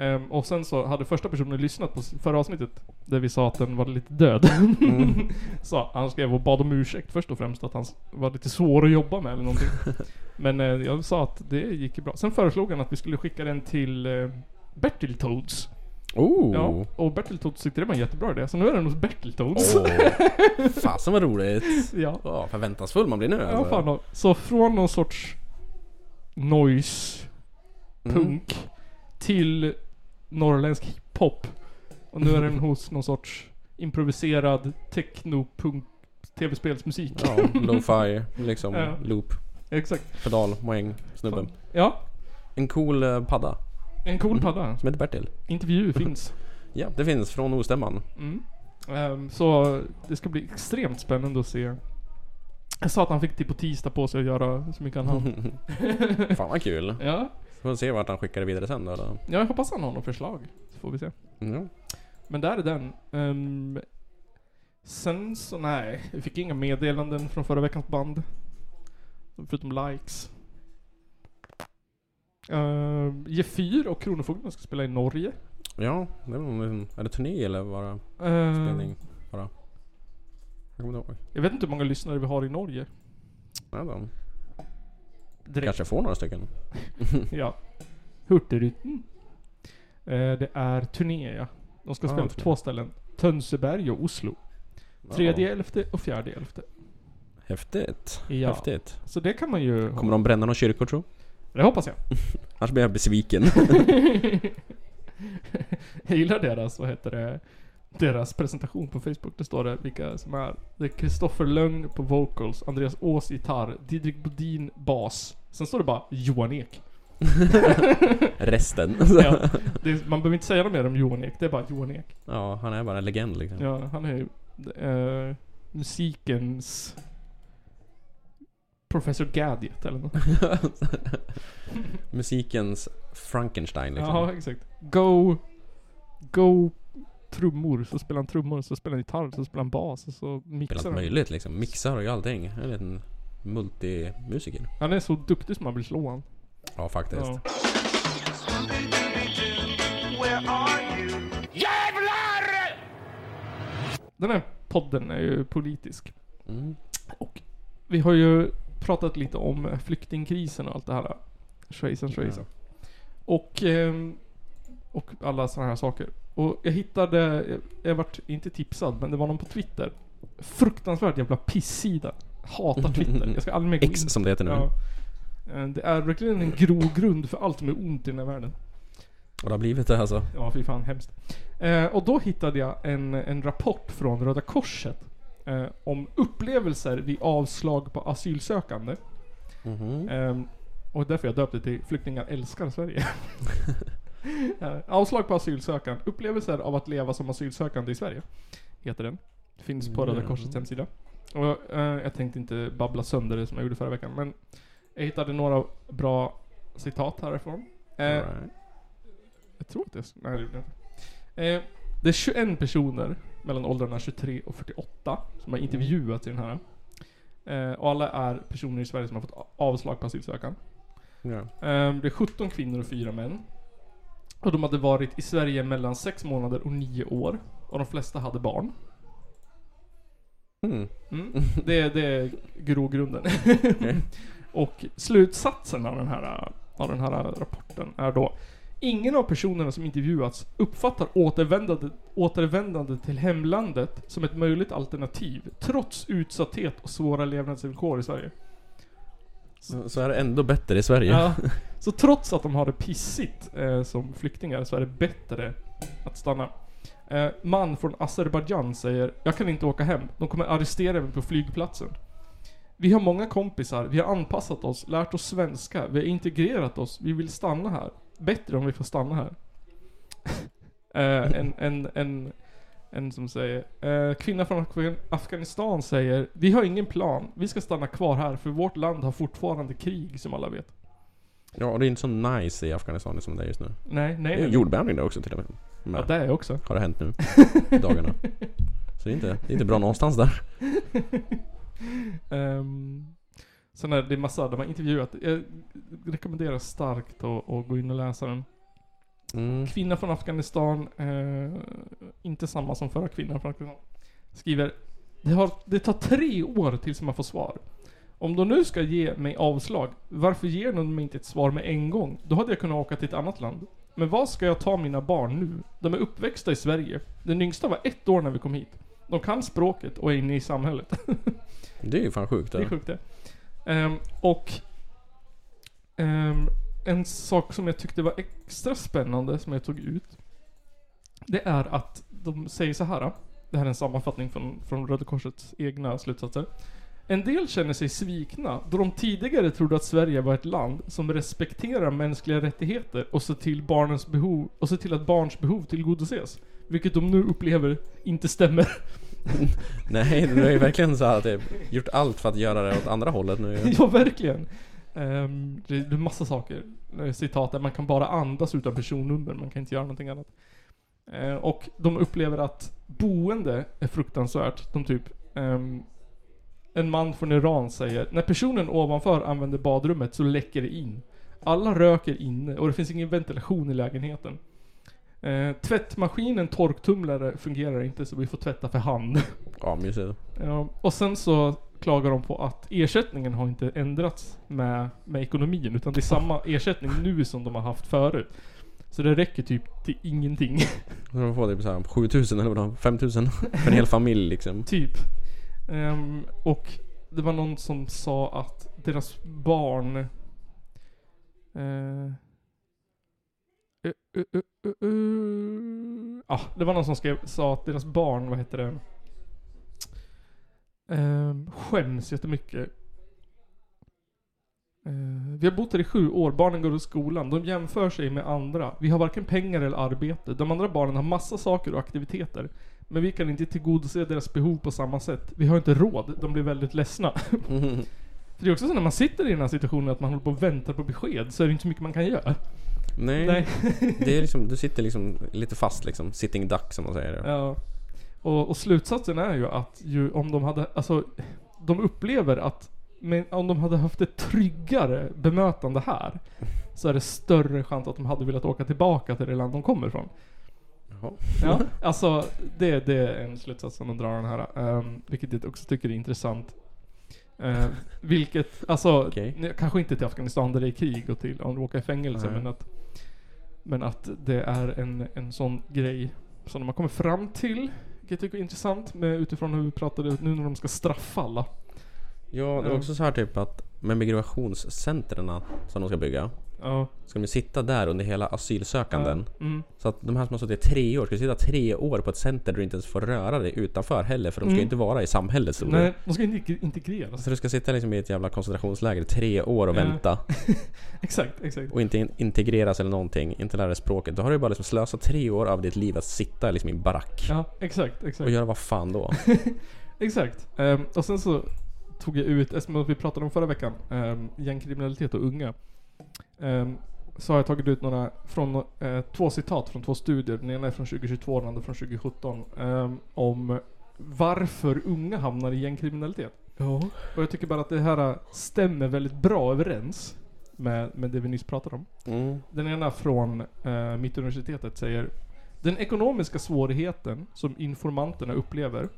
Ehm, och sen så hade första personen lyssnat på s- förra avsnittet där vi sa att den var lite död.
Mm.
[LAUGHS] så han skrev och bad om ursäkt först och främst att han s- var lite svår att jobba med eller
[LAUGHS]
någonting. Men eh, jag sa att det gick ju bra. Sen föreslog han att vi skulle skicka den till eh, Bertiltoads.
Oh!
Ja, och Bertiltoads tyckte det var en jättebra idé. Så nu är den hos Bertiltoads.
Oh.
[LAUGHS]
Åh. Fasen vad roligt!
ja.
Oh, förväntansfull man blir nu alltså.
ja, fan då. Så från någon sorts noise
Mm.
punk till norrländsk hiphop. Och nu är den hos någon sorts improviserad techno-punk tv-spelsmusik.
Ja, lo-fi, liksom,
Ja.
loop,
Exakt.
pedal, moäng, snubben.
Ja,
En cool eh, padda
en cool padda.
som heter Bertil.
Intervju finns.
Ja, det finns från ostämman.
Mm. Ehm, så det ska bli extremt spännande att se. Jag sa att han fick till på tisdag på sig att göra så mycket han
Mm.
hann.
[LAUGHS] Fan vad kul.
Ja,
Får se vart han skickar det vidare sen då. eller?
jag hoppas han har något förslag. Så får vi se.
Mm.
Men där är den. Ehm, sen så nej, vi fick inga meddelanden från förra veckans band. Förutom likes. Ehm, G4 och Kronofogden ska spela i Norge.
Ja, det är, någon, är det turné eller bara
Ehm,
spelning? Bara. Jag kommer inte ihåg.
jag vet inte hur många lyssnare vi har i Norge.
Ja, då.
Direkt.
Kanske får några stycken.
Ja. Hurtigruten. Eh, det är turné ja. De ska
Ah,
spela på
turné.
två ställen. Tönseberg och Oslo.
Ja.
Tredje elfte och fjärde elfte.
Häftigt.
Ja.
Häftigt.
Så det kan man ju...
Kommer de bränna några kyrkor tro?
Det hoppas jag.
Annars blir
[LAUGHS]
jag besviken.
jag gillar deras, vad heter det, deras presentation på Facebook. Det står det vilka som är. Det är Kristoffer Lögn på vocals, Andreas Ås gitarr, Didrik Bodin bas. Sen står det bara Johan Ek.
Resten.
Ja, det, är- man behöver inte säga något mer om Johan Ek, det är bara Johan Ek.
ja, han är bara en legend liksom.
Ja, han är ju eh, musikens Professor Gadget eller något.
[LAUGHS] Musikens Frankenstein liksom.
Ja, exakt. Go... Go trummor, så spelar han trummor, så spelar han gitarr, så spelar han bas och så
Spelat
mixar han.
möjligt liksom. Mixar och gör allting. En liten multimusiker.
Han är så duktig som man vill slå han.
Ja, faktiskt.
Ja. Den här podden är ju politisk.
Mm.
Och vi har ju pratat lite om flyktingkrisen och allt det här. Schweizern, Schweizern. Och, ehm, och alla sådana här saker. Och jag hittade, jag vart inte tipsad, men det var någon på Twitter. Fruktansvärt jävla pissida. Hatar Twitter. Jag ska aldrig mer gå in.
X som det heter nu.
Ja. Eh, Det är verkligen en grogrund för allt som är ont i den här världen.
Och det har blivit det alltså.
Ja, fy fan hemskt. Eh, och då hittade jag en, en rapport från Röda Korset eh, om upplevelser vid avslag på asylsökande.
Mhm.
Ehm, och därför jag döpte till Flyktingar älskar Sverige. Eh, Avslag på asylsökan. Upplevelser av att leva som asylsökande i Sverige. Heter den. Finns på Röda Korsets hemsida. Och, eh, jag tänkte inte babbla sönder det som jag gjorde förra veckan. Men jag hittade några bra citat härifrån. Eh,
Alright.
Jag tror att det är... Nej, det gjorde jag inte. Eh, det är 21 personer mellan åldrarna 23 och 48 som har intervjuats i den här. Eh, och alla är personer i Sverige som har fått a- avslag på asylsökan.
Ja.
Ehm, Det är 17 kvinnor och 4 män. Och de hade varit i Sverige mellan 6 månader och 9 år. Och de flesta hade barn.
Mm.
Mm. Det, är- det är grogrunden. [LAUGHS] och slutsatsen av den, här, av den här rapporten är då Ingen av personerna som intervjuats uppfattar återvändande, återvändande till hemlandet som ett möjligt alternativ trots utsatthet och svåra levnadsvillkor i Sverige.
Så, så är det ändå bättre i Sverige.
Ja. [LAUGHS] Så trots att de har det pissigt eh, som flyktingar så är det bättre att stanna. Eh, man från Azerbajdzjan säger Jag kan inte åka hem. De kommer arrestera mig på flygplatsen. Vi har många kompisar, vi har anpassat oss, lärt oss svenska, vi har integrerat oss, vi vill stanna här. Bättre om vi får stanna här. [LAUGHS] eh, en, en, en, en som säger eh, Kvinna från Afgan- Afghanistan säger Vi har ingen plan, vi ska stanna kvar här för vårt land har fortfarande krig som alla vet.
Ja, och det är inte så nice i Afghanistan som det är just nu.
Nej, nej.
Det är
nej.
jordbävning där också till och med.
Ja,
Men,
det är också.
Har det
[LAUGHS]
hänt nu. Dagarna. Så det är inte, det är inte bra någonstans där.
Um, sen är det massa, de har intervjuat. Jag rekommenderar starkt att, att gå in och läsa den.
Mm.
Kvinna från Afghanistan, eh, inte samma som förra kvinnan från Afghanistan, skriver det, har, det tar tre år tills man får svar. Om de nu ska ge mig avslag, varför ger de mig inte ett svar med en gång? Då hade jag kunnat åka till ett annat land. Men var ska jag ta mina barn nu? De är uppväxta i Sverige. Den yngsta var ett år när vi kom hit. De kan språket och är inne i samhället.
Det är ju fan sjukt.
Det är
Det.
sjukt det. Ehm, och ehm, en sak som jag tyckte var extra spännande som jag tog ut. Det är att de säger så här. Det här är en sammanfattning från, från Röda Korsets egna slutsatser. En del känner sig svikna då de tidigare trodde att Sverige var ett land som respekterar mänskliga rättigheter och ser till, barnens behov, och ser till att barns behov tillgodoses. Vilket de nu upplever inte stämmer.
Nej, du har ju verkligen så här typ, gjort allt för att göra det åt andra hållet nu.
[LAUGHS] ja, verkligen. Ehm, det det är massa saker. Eh, Citat där man kan bara andas utan personnummer, man kan inte göra någonting annat. Eh, och de upplever att boende är fruktansvärt. De typ... ehm, en man från Iran säger När personen ovanför använder badrummet så läcker det in. Alla röker inne och det finns ingen ventilation i lägenheten. Eh, tvättmaskinen torktumlare fungerar inte så vi får tvätta för hand.
Ja, mysigt.
Ja, och sen så klagar de på att ersättningen har inte ändrats med, med ekonomin utan det är samma ersättning nu som de har haft förut. Så det räcker typ till ingenting.
Så de får typ såhär 7000 eller vad 5000 för en hel familj liksom.
typ. Ehm, och det var någon som sa att deras barn... eh, eh, eh, eh, eh, eh. Ja, det var någon som skrev, sa att deras barn, vad heter det? Ehm, skäms jättemycket. Eh, vi har bott här i sju år, barnen går i skolan, de jämför sig med andra. Vi har varken pengar eller arbete. De andra barnen har massa saker och aktiviteter. Men vi kan inte tillgodose deras behov på samma sätt. Vi har inte råd. De blir väldigt ledsna.
Mhm.
[LAUGHS] För det är också så när man sitter i den här situationen att man håller på och väntar på besked så är det inte så mycket man kan göra.
Nej.
Nej.
Det är liksom, du sitter liksom lite fast liksom. Sitting duck som man säger.
Ja. Och, och slutsatsen är ju att ju, om de hade, alltså, de upplever att men om de hade haft ett tryggare bemötande här så är det större chans att de hade velat åka tillbaka till det land de kommer ifrån.
Jaha. [LAUGHS]
Ja, alltså det, det är en slutsats som de drar den här. ehm, vilket jag också tycker är intressant. Ehm, vilket, alltså,
Okej.
nej, kanske inte till Afghanistan där det är krig och till om du åker i fängelse
Nej.
liksom. men att Men att det är en, en sån grej som de har kommit fram till. Vilket jag tycker är intressant med, utifrån hur vi pratade nu när de ska straffa alla.
Ja, det är
Ja.
också så här typ att med migrationscentrerna som de ska bygga.
Ja.
Ska de sitta där under hela asylsökanden.
Mm.
Så att de här som har suttit i tre år, ska sitta tre år på ett center där du inte ens får röra dig utanför heller för de ska ju
Mm.
inte vara i samhället så
Nej, de ska inte integreras.
Så du ska sitta liksom i ett jävla koncentrationsläger i tre år och
Ja.
vänta
Exakt, exakt.
och inte in- integreras eller någonting, inte lära dig språket. Då har du ju bara liksom slösat tre år av ditt liv att sitta liksom i en barack.
Ja, exakt, exakt.
Och göra vad fan då?
Exakt. Ehm, och sen så tog jag ut, eftersom vi pratade om förra veckan, um, gängkriminalitet och unga. Ehm, så har jag tagit ut några från, eh, två citat från två studier. Den ena är från 2022 och den andra från 2017. ehm, om varför unga hamnar i gängkriminalitet. Och jag tycker bara att det här stämmer väldigt bra överens med, med det vi nyss pratade om.
Mm.
Den ena från eh, Mittuniversitetet säger Den ekonomiska svårigheten som informanterna upplever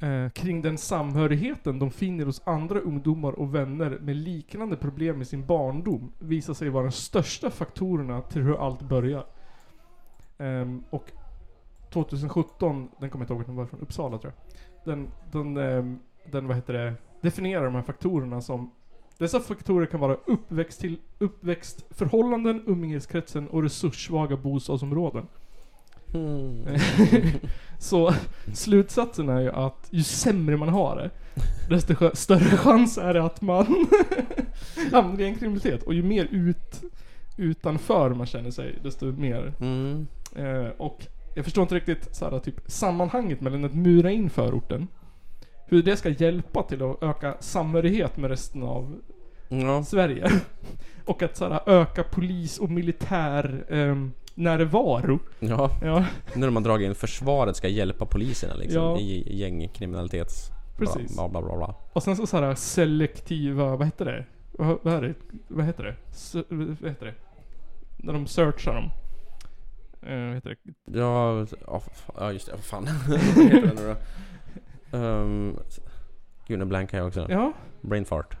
eh, kring den samhörigheten de finner hos andra ungdomar och vänner med liknande problem i sin barndom visar sig vara den största faktorerna till hur allt börjar. Ehm, och 2017, den kommer jag inte ihåg, den var från Uppsala tror jag. Den, den, ehm, den vad heter det, definierar de här faktorerna som dessa faktorer kan vara uppväxt till uppväxtförhållanden, umgängeskretsen och resurssvaga bostadsområden. Så slutsatsen är ju att ju sämre man har det, desto skö- större chans är det att man [LAUGHS] hamnar i en kriminalitet. Och ju mer ut, utanför man känner sig, desto mer.
Mm.
Eh, och jag förstår inte riktigt så här, typ, sammanhanget mellan att mura in förorten, hur det ska hjälpa till att öka samhörighet med resten av
Ja.
Sverige. [LAUGHS] Och att så här, öka polis och militär ehm, närvaro.
ja.
Ja,
Nu när man dragit in försvaret ska hjälpa poliserna liksom
Ja.
i gängkriminalitets...
precis.
Bla, bla, bla, bla.
Och sen så, så här selektiva, vad heter det? Vad, vad, är det? vad heter det? Sö- vad heter det? När de searchar dem. Eh, vad heter det?
Ja, ja, f- ja just det. Vad fan [LAUGHS] Vad heter den nu då? Um, gud, nu blankar jag också.
Ja.
Brain fart.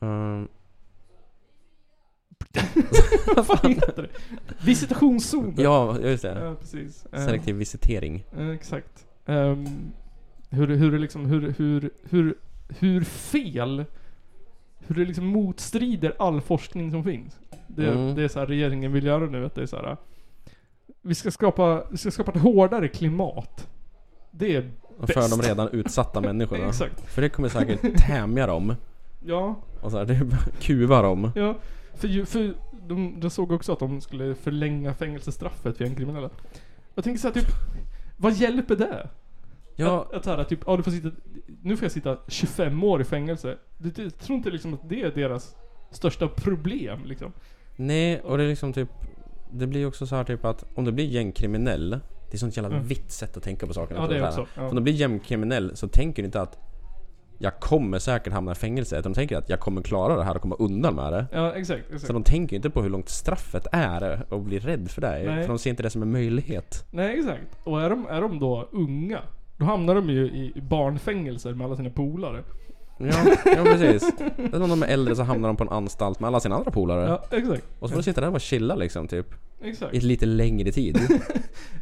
Ehm,
[LAUGHS] vad fan heter det? Visitationszoner.
ja, just det.
Ja, precis. Eh,
Selektiv visitering.
eh, exakt. Ehm, hur, hur det liksom, hur, hur, hur, hur fel, hur det liksom motstrider all forskning som finns. Det,
Mm.
det är så här regeringen vill göra nu, att det är så här. Vi ska skapa, vi ska skapa ett hårdare klimat. Det är
För
Bäst.
de redan utsatta människorna.
[LAUGHS] Exakt.
För det kommer säkert tämja dem.
Ja,
Och så här, det är bara- kuva dem.
ja. För, ju, för de, de såg också att de skulle förlänga fängelsestraffet för gängkriminella. Jag tänker såhär typ, vad hjälper det?
Ja,
Att, att såhär typ, ja du får sitta, nu får jag sitta 25 år i fängelse. Du, du tror inte liksom att det är deras största problem liksom?
nej, och det är liksom typ... Det blir ju också så här typ att om du blir gängkriminell. Det är sånt jävla
Mm.
vitt sätt att tänka på saker.
Ja, det är också, ja.
Om du blir gängkriminell så tänker du inte att jag kommer säkert hamna i fängelse. Utan de tänker att jag kommer klara det här och komma undan med det.
Ja, exakt. exakt.
Så de tänker ju inte på hur långt straffet är och blir rädd för det.
Nej.
För de ser inte det som en möjlighet.
Nej, exakt. Och är de, är de då unga, då hamnar de ju i barnfängelser med alla sina polare.
Ja, [LAUGHS] ja precis. Sen om de är äldre så hamnar de på en anstalt med alla sina andra polare.
Ja, exakt.
Och så får de sitta där och bara chilla liksom typ.
Exakt.
I lite
[LAUGHS]
längre tid.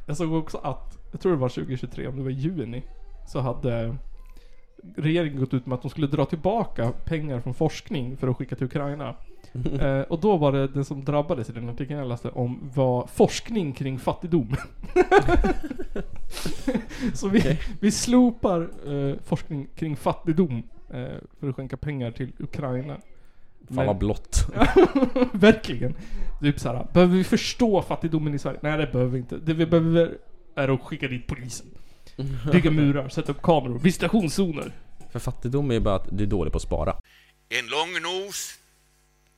Jag såg också att, jag tror det var 2023, om det var i juni, så hade regeringen gått ut med att de skulle dra tillbaka pengar från forskning för att skicka till Ukraina. eh, och då var det det som drabbades i den artikeln jag läste om var forskning kring fattigdom. [LAUGHS] så vi,
Okej.
vi slopar eh, forskning kring fattigdom eh, för att skänka pengar till Ukraina.
Fan
[LAUGHS]
vad blått.
Verkligen. Typ såhär, behöver vi förstå fattigdomen i Sverige? Nej det behöver vi inte. Det vi behöver är att skicka dit polisen. [LAUGHS] Bygga murar, sätta upp kameror, visitationszoner.
För fattigdom är ju bara att du är dålig på att spara.
En lång nos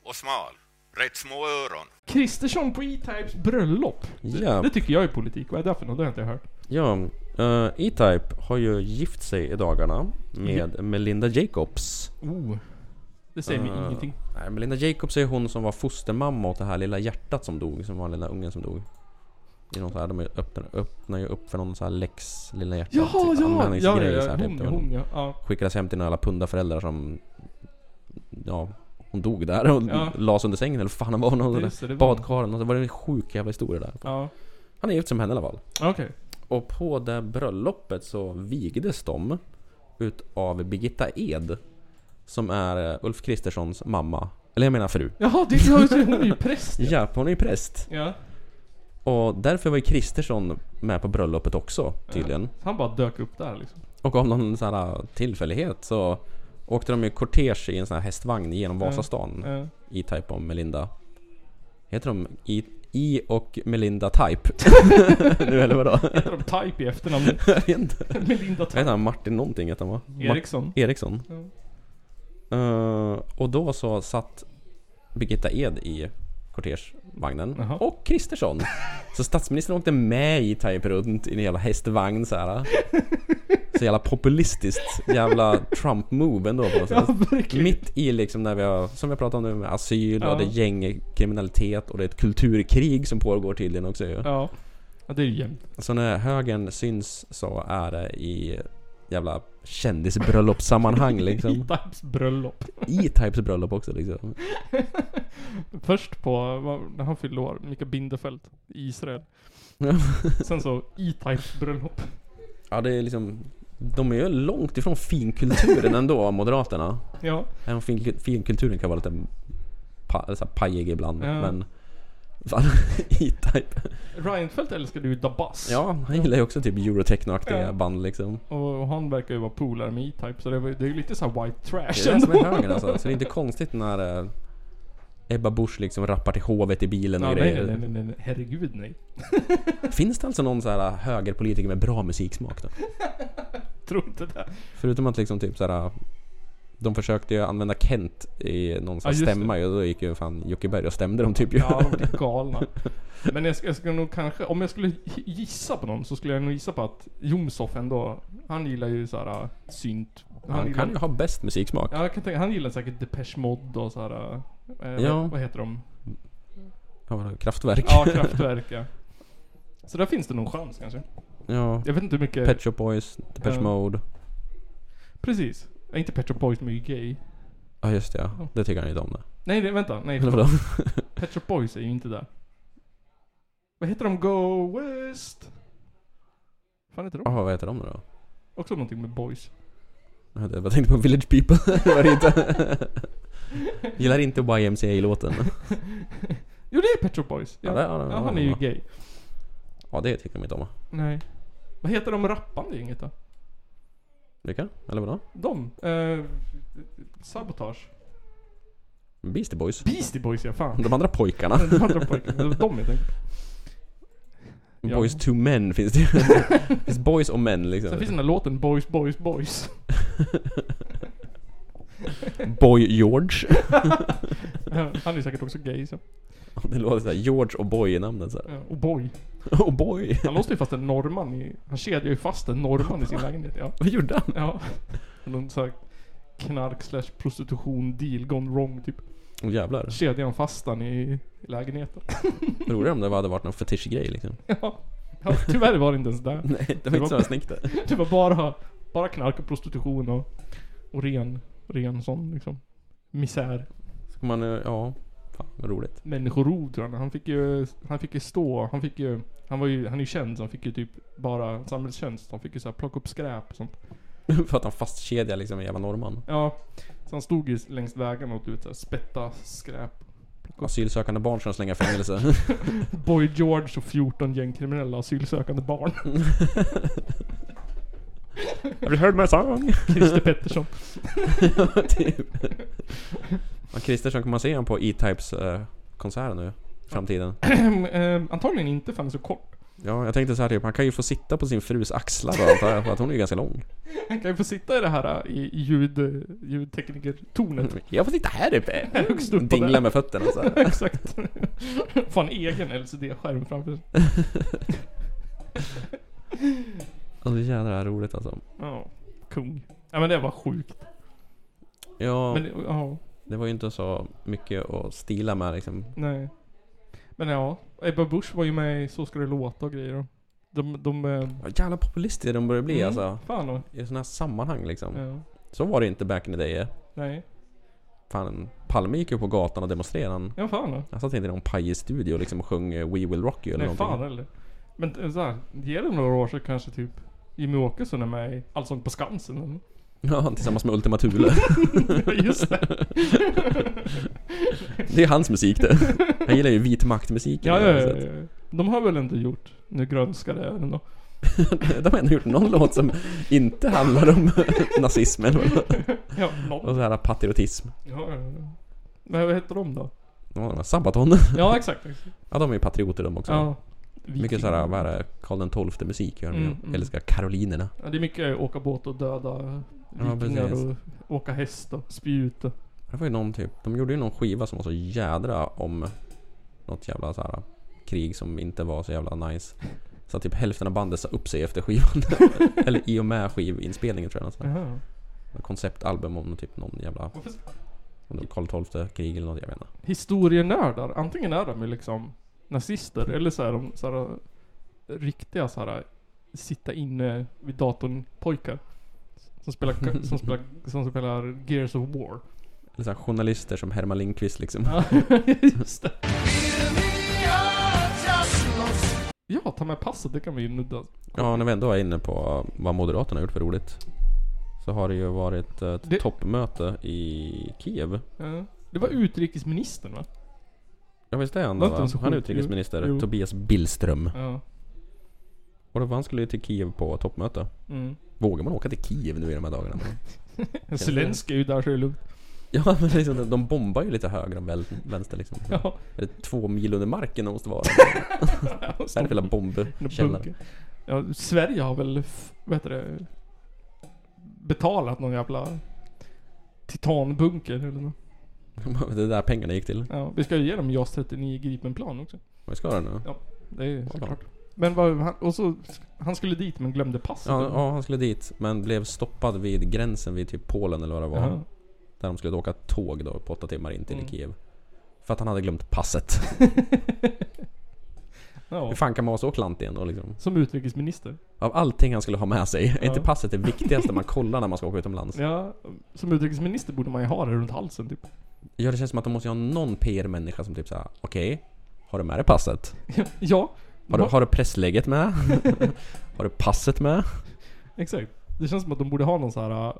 och smal. Rätt små öron.
Kristersson på E-Types bröllop.
Ja.
Det tycker jag är politik. Vad är det för något? Det har jag inte hört.
Ja, eh, E-Type har ju gift sig i dagarna med Melinda Jacobs.
Oh. Det säger mig
Eh,
ingenting.
Nej, Melinda Jacobs är hon som var fostermamma åt det här lilla hjärtat som dog, som var den lilla ungen som dog. I någon så här, de öppnar, öppnar ju upp för någon så här lex Lilla hjärtat
Jaha, ja!
användningsgrej
Ja, ja,
så
ja.
här, typ.
Hon, ja, hon ja. ja.
Skickades hem till några jävla pundarföräldrar som... Ja, hon dog där och
Ja.
lades under sängen eller fan var hon
Just det, det
var
var-
Badkaren, och så var det en sjuk jävla historia där.
Ja.
Han är gift som henne i alla fall.
Okej.
Och på det bröllopet så vigdes de utav Birgitta Ed. Som är eh, Ulf Kristerssons mamma. Eller jag menar fru.
Jaha, det, [LAUGHS] ja, just det, hon är ju präst.
Ja, hon är ju präst.
Ja.
Och därför var ju Kristersson med på bröllopet också tydligen.
Han bara dök upp där liksom.
Och av någon sån här eh, tillfällighet så åkte de i kortege i en sån här hästvagn genom Vasastan.
Ja.
E-Type och Melinda. Heter de I, I och Melinda [LAUGHS] Type? nu eller vadå?
Heter de Type i efternamn? [LAUGHS]
jag vet inte.
Melinda
Vad heter
Type.
han? Martin någonting heter han va?
Eh,
Ma-
Eriksson.
Eriksson.
Ja.
Eh, och då så satt Birgitta Ed i kortegevagnen.
Jaha. [LAUGHS]
Och Kristersson. Så statsministern åkte med i Type runt i en jävla hästvagn så här. Så jävla populistiskt jävla Trump-move ändå på något sätt.
Ja, verkligen.
Mitt i liksom när vi har, som vi pratat om nu med asyl
Ja.
och det är gängkriminalitet och det är ett kulturkrig som pågår tydligen också ju.
Ja. ja. Det är ju jämnt.
Så när högern syns så är det i jävla kändisbröllopssammanhang liksom.
E-Types bröllop.
E-Types bröllop också liksom.
Först på, vad- när han fyllde år, Mikael Bindefeld i
[LAUGHS]
Israel. Sen så E-Types bröllop.
Ja det är liksom De är ju långt ifrån finkulturen ändå [LAUGHS] Moderaterna
Ja.
Även om fin- finkulturen kan vara lite pa, så här pajig ibland
Ja.
men Fan, [LAUGHS] E-Type
Reinfeldt älskade ju Dabas.
Ja, han gillar ju också typ Eurotechno-aktiga
Ja.
band liksom
Och han verkar ju vara polare med E-Type, så det, var, det är ju lite såhär white
Det
trash
är det som är högern
ändå.
alltså, så det är inte konstigt när eh, Ebba Busch liksom rappar till hovet i bilen och
[LAUGHS] Ja, nej,
grejer.
nej, nej, nej, nej, herregud nej.
Finns det alltså någon så här högerpolitiker med bra musiksmak då?
Tror inte det.
Förutom att liksom typ så här. De försökte ju använda Kent i någon sån
Ja,
här
just det.
stämma ju och då gick ju fan Jocke Berg och stämde dem typ ju.
Ja, de blir galna. Men jag, ska- jag skulle nog kanske, om jag skulle gissa på någon så skulle jag nog gissa på att Jomshof ändå, han gillar ju såhär äh, synt.
[LAUGHS] Han
gillar,
kan ju ha bäst musiksmak.
Ja, jag kan tänka, han gillar säkert Depeche Mode och såhär... Eh,
Ja.
vad, vad heter de?
Han var kraftverk.
Ja, Kraftwerk ja. Så där finns det någon chans kanske.
[LAUGHS] ja.
Jag vet inte hur mycket...
Pet Shop Boys, Depeche
Ja.
Mode.
Precis. Ja, inte Pet Shop Boys men ju gay.
Ja just det ja. Det tycker han inte om det.
Nej, nej vänta. Nej, [LAUGHS]
Eller vadå?
Pet Shop Boys är ju inte där. Vad heter de? Go West? Vad fan heter de?
Jaha, vad heter de då?
Också någonting med boys.
Jag bara tänkte på Village People. [LAUGHS] Det var det inte. Gillar inte E YMCA-låten.
Jo, det är Pet Shop Boys.
Ja, det- ja, det-
ja han är ju
ja.
gay.
Ja det tycker de inte om.
Nej. Vad heter de rappande gänget då?
Vilka? Eller vadå?
De? Eh, sabotage?
Beastie Boys.
Beastie Boys ja, fan.
De andra pojkarna.
De andra pojkarna. Det var de jag tänkte. [LAUGHS] Ja.
Boys to men
[LAUGHS]
finns det ju. Det finns boys och män liksom.
Sen finns den där låten Boys, Boys, Boys. [LAUGHS]
Boy George. [LAUGHS]
Eh, Han är säkert också gay så.
Det låter såhär George och Boy i namnet såhär.
Eh, Och boy.
[LAUGHS] Och Boy.
Han låste ju fast en norrman i... Han kedjade ju fast en norrman i sin lägenhet. Ja.
[LAUGHS] Vad gjorde han?
Ja. Någon sån här knark slash prostitution deal gone wrong typ.
Åh jävlar.
Kedjade han fast han i, i lägenheten.
Roligare om det hade varit någon fetischgrej liksom.
Ja. ja. Tyvärr var det inte ens där.
[LAUGHS] Nej,
var
det
inte
var inte
så
så
här
snyggt det.
Det var bara, bara knark och prostitution och, och ren, ren sån liksom. Misär.
Ska man, eh, ja. Fan vad roligt. [LAUGHS]
människorov tror jag. Han fick ju, han fick ju stå, han fick ju, han var ju, han är ju känd så han fick ju typ bara samhällstjänst. Han fick ju så här plocka upp skräp och sånt.
För att han fastkedjar liksom en jävla norrman.
Ja. Så han stod ju längs vägen och du vet såhär spätta skräp.
Asylsökande barn som slänga i [LAUGHS] fängelse.
Boy George och 14 gängkriminella asylsökande
[LAUGHS]
barn.
Have you heard my song?
Christer Pettersson. [CLEARS THROAT]
[LAUGHS] typ. Ja, Kristersson, kan man se han på E-Types eh, konsert nu? i Framtiden.
Eh, Antagligen inte för han är så kort.
Ja, jag tänkte så här typ, han kan ju få sitta på sin frus axlar då, antar jag, för att hon är ju ganska lång.
Han kan ju få sitta i det här eh, i i ljud, eh, ljudteknikertornet.
Jag får Mm. [LAUGHS] sitta här uppe!
Högst upp på
Dingla
det.
med fötterna så här.
[LAUGHS] Exakt. Fan egen LCD-skärm framför sig.
Alltså jävlar det är roligt alltså.
Ja. Kung. Ja men det var sjukt.
Ja,
Men det- ja,
det var ju inte så mycket att stila med liksom.
nej. Men ja, Ebba Busch var ju med i Så ska det låta och grejer. De, de... eh,
Ja, Jävla populister de börjar bli
mm,
Mm. alltså.
Fan och,
I sådana här sammanhang liksom.
ja,
Så var det inte back in the day.
Nej.
Fan, Palme gick ju på gatan och demonstrerade. Han-
Ja fan och.
Han satt inte i någon pajig studio liksom och sjöng eh, We Will Rock You eller
Nej fan
någonting.
eller. Men eh, så här, ge det några år så kanske typ Jimmy Åkesson är med i Allsång på Skansen [LAUGHS] eller
[LAUGHS] Ja, tillsammans med Ultima Thule.
Ja, Just
[LAUGHS]
det.
Det är hans musik det. Han gillar ju vit maktmusiken.
Ja, ja, ja, ja. De har väl inte gjort Nu grönskar det ändå.
De har ändå gjort någon låt som inte handlar om [LAUGHS] nazismen
Ja, någon.
och så här patriotism.
Ja, ja, ja. Men vad heter de då?
De har de här Sabaton.
Ja exakt. exakt.
Ja, de är ju patrioter de också.
Ja.
Mycket såhär, vad är det? Karl XII musik gör de
Mm, mm.
ju. Älskar karolinerna.
Ja, det är mycket åka båt och döda
Ja,
vikingar
precis.
och åka häst och spjut. och-
Det var ju någon typ, de gjorde ju någon skiva som var så jädra om något jävla så här krig som inte var så jävla nice. Så att typ hälften av bandet sa upp sig efter skivan. [LAUGHS] Eller i och med skivinspelningen tror jag nästan.
Jaha.
Ett Konceptalbum om typ någon jävla
Varför s-
om det var Karl XII krig eller något, jag vet inte.
Historienördar, antingen är de ju liksom nazister eller så är de så eh, här, riktiga så här sitta inne vid datorn pojkar. Som spelar, som spelar, som spelar Gears of War.
Eller så här, journalister som Herman Lindqvist liksom.
Ja, [LAUGHS] just det. Ja, ta med passet, det kan vi ju nudda.
Ja, när vi ändå är inne på vad Moderaterna har gjort för roligt. Så har det ju varit ett
Det-
toppmöte i Kiev.
Ja. Det var utrikesministern va?
Ja visst är han
Var
det
inte
va?
han så
Han är
sjuk?
utrikesminister.
Jo. Jo.
Tobias Billström.
Ja.
Och då var han skulle ju till Kiev på toppmöte.
Mm.
Vågar man åka till Kiev nu i de här dagarna?
Zelenskyj är ju där så är det lugnt.
[LAUGHS] Ja men liksom, de bombar ju lite höger än väl- vänster liksom.
Ja.
Är det två mil under marken de måste vara? Där är
[LAUGHS]
hela
Någon
bombkällare.
bunker. Ja, Sverige har väl, f- vad heter det? Betalat någon jävla titanbunker eller något.
[LAUGHS] Det är där pengarna gick till.
Ja, vi ska ju ge dem JAS 39 Gripenplan också.
Vad ska den nu?
Det är ju
Ja.
såklart. Men vad, han, och så, han skulle dit men glömde passet.
Ja, ja, han skulle dit men blev stoppad vid gränsen vid typ Polen eller vad det var.
Jaha.
Där de skulle åka tåg då på åtta timmar in till
Mm.
Kiev. För att han hade glömt passet.
Ja.
Hur fan kan man vara så klantig ändå liksom?
Som utrikesminister.
Av allting han skulle ha med sig, är
Ja.
inte passet det
[LAUGHS]
viktigaste man kollar när man ska åka utomlands?
Ja, som utrikesminister borde man ju ha det runt halsen typ.
Ja, det känns som att de måste ju ha någon PR-människa som typ såhär, okej, har du med dig passet?
Ja.
Har du,
Ja,
har du
[LAUGHS]
presslägget med? har du passet med?
Exakt. Det känns som att de borde ha någon så här, äh, vad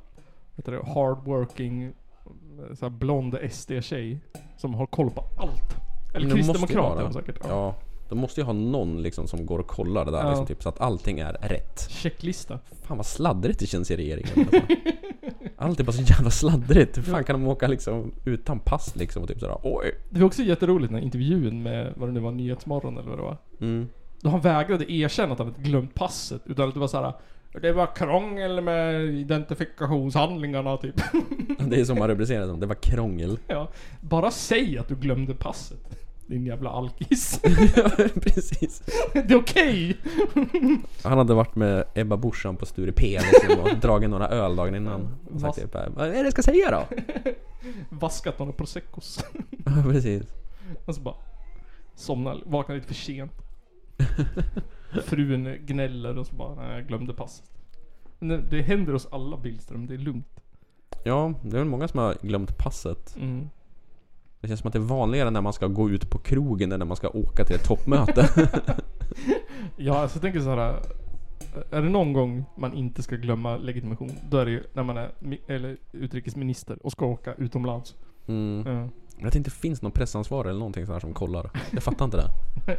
heter det, hardworking, äh, så här blond SD-tjej. Som har koll på allt. Eller
Men det måste ju
kristdemokrat är de
vara.
säkert. Ja.
Ja, de måste ju ha någon liksom som går och kollar det där
Ja.
liksom, typ, så att allting är rätt.
Checklista.
Fan vad sladdrigt det känns
[LAUGHS]
i regeringen. Allt är bara så jävla sladdrigt. Hur fan kan de åka liksom utan pass liksom och typ sådär oj.
Det var också jätteroligt när intervjun med, vad det nu var, Nyhetsmorgon eller vad det var.
Mm.
Då han vägrade erkänna att han hade glömt passet. Utan att det var så här. Det var krångel med identifikationshandlingarna typ. [LAUGHS]
Det är som man rubricerar det som. Det var krångel. [LAUGHS]
Ja. Bara säg att du glömde passet. Din jävla alkis. [LAUGHS]
Ja, Precis.
det är okej!
Han hade varit med Ebba Borsan på Sture P liksom,
[LAUGHS]
och dragit några öl dagen innan. Och sagt
Vass-
typ, vad är det jag ska säga då?
[LAUGHS] Vaskat några proseccos. [LAUGHS]
Ja, Precis.
Och så bara... Somnar, vaknar lite för sent. Frun gnäller och så bara, nej jag glömde passet. Men det- det händer oss alla Billström, det är lugnt.
Ja, det är väl många som har glömt passet.
Mm.
Det känns som att det är vanligare när man ska gå ut på krogen än när man ska åka till ett toppmöte.
[LAUGHS] Ja, alltså jag tänker så här. Är det någon gång man inte ska glömma legitimation, då är det ju när man är mi- eller utrikesminister och ska åka utomlands.
Mm.
Ja.
Men Att det inte finns någon pressansvarig eller någonting sånt här som kollar. Jag fattar inte
[LAUGHS]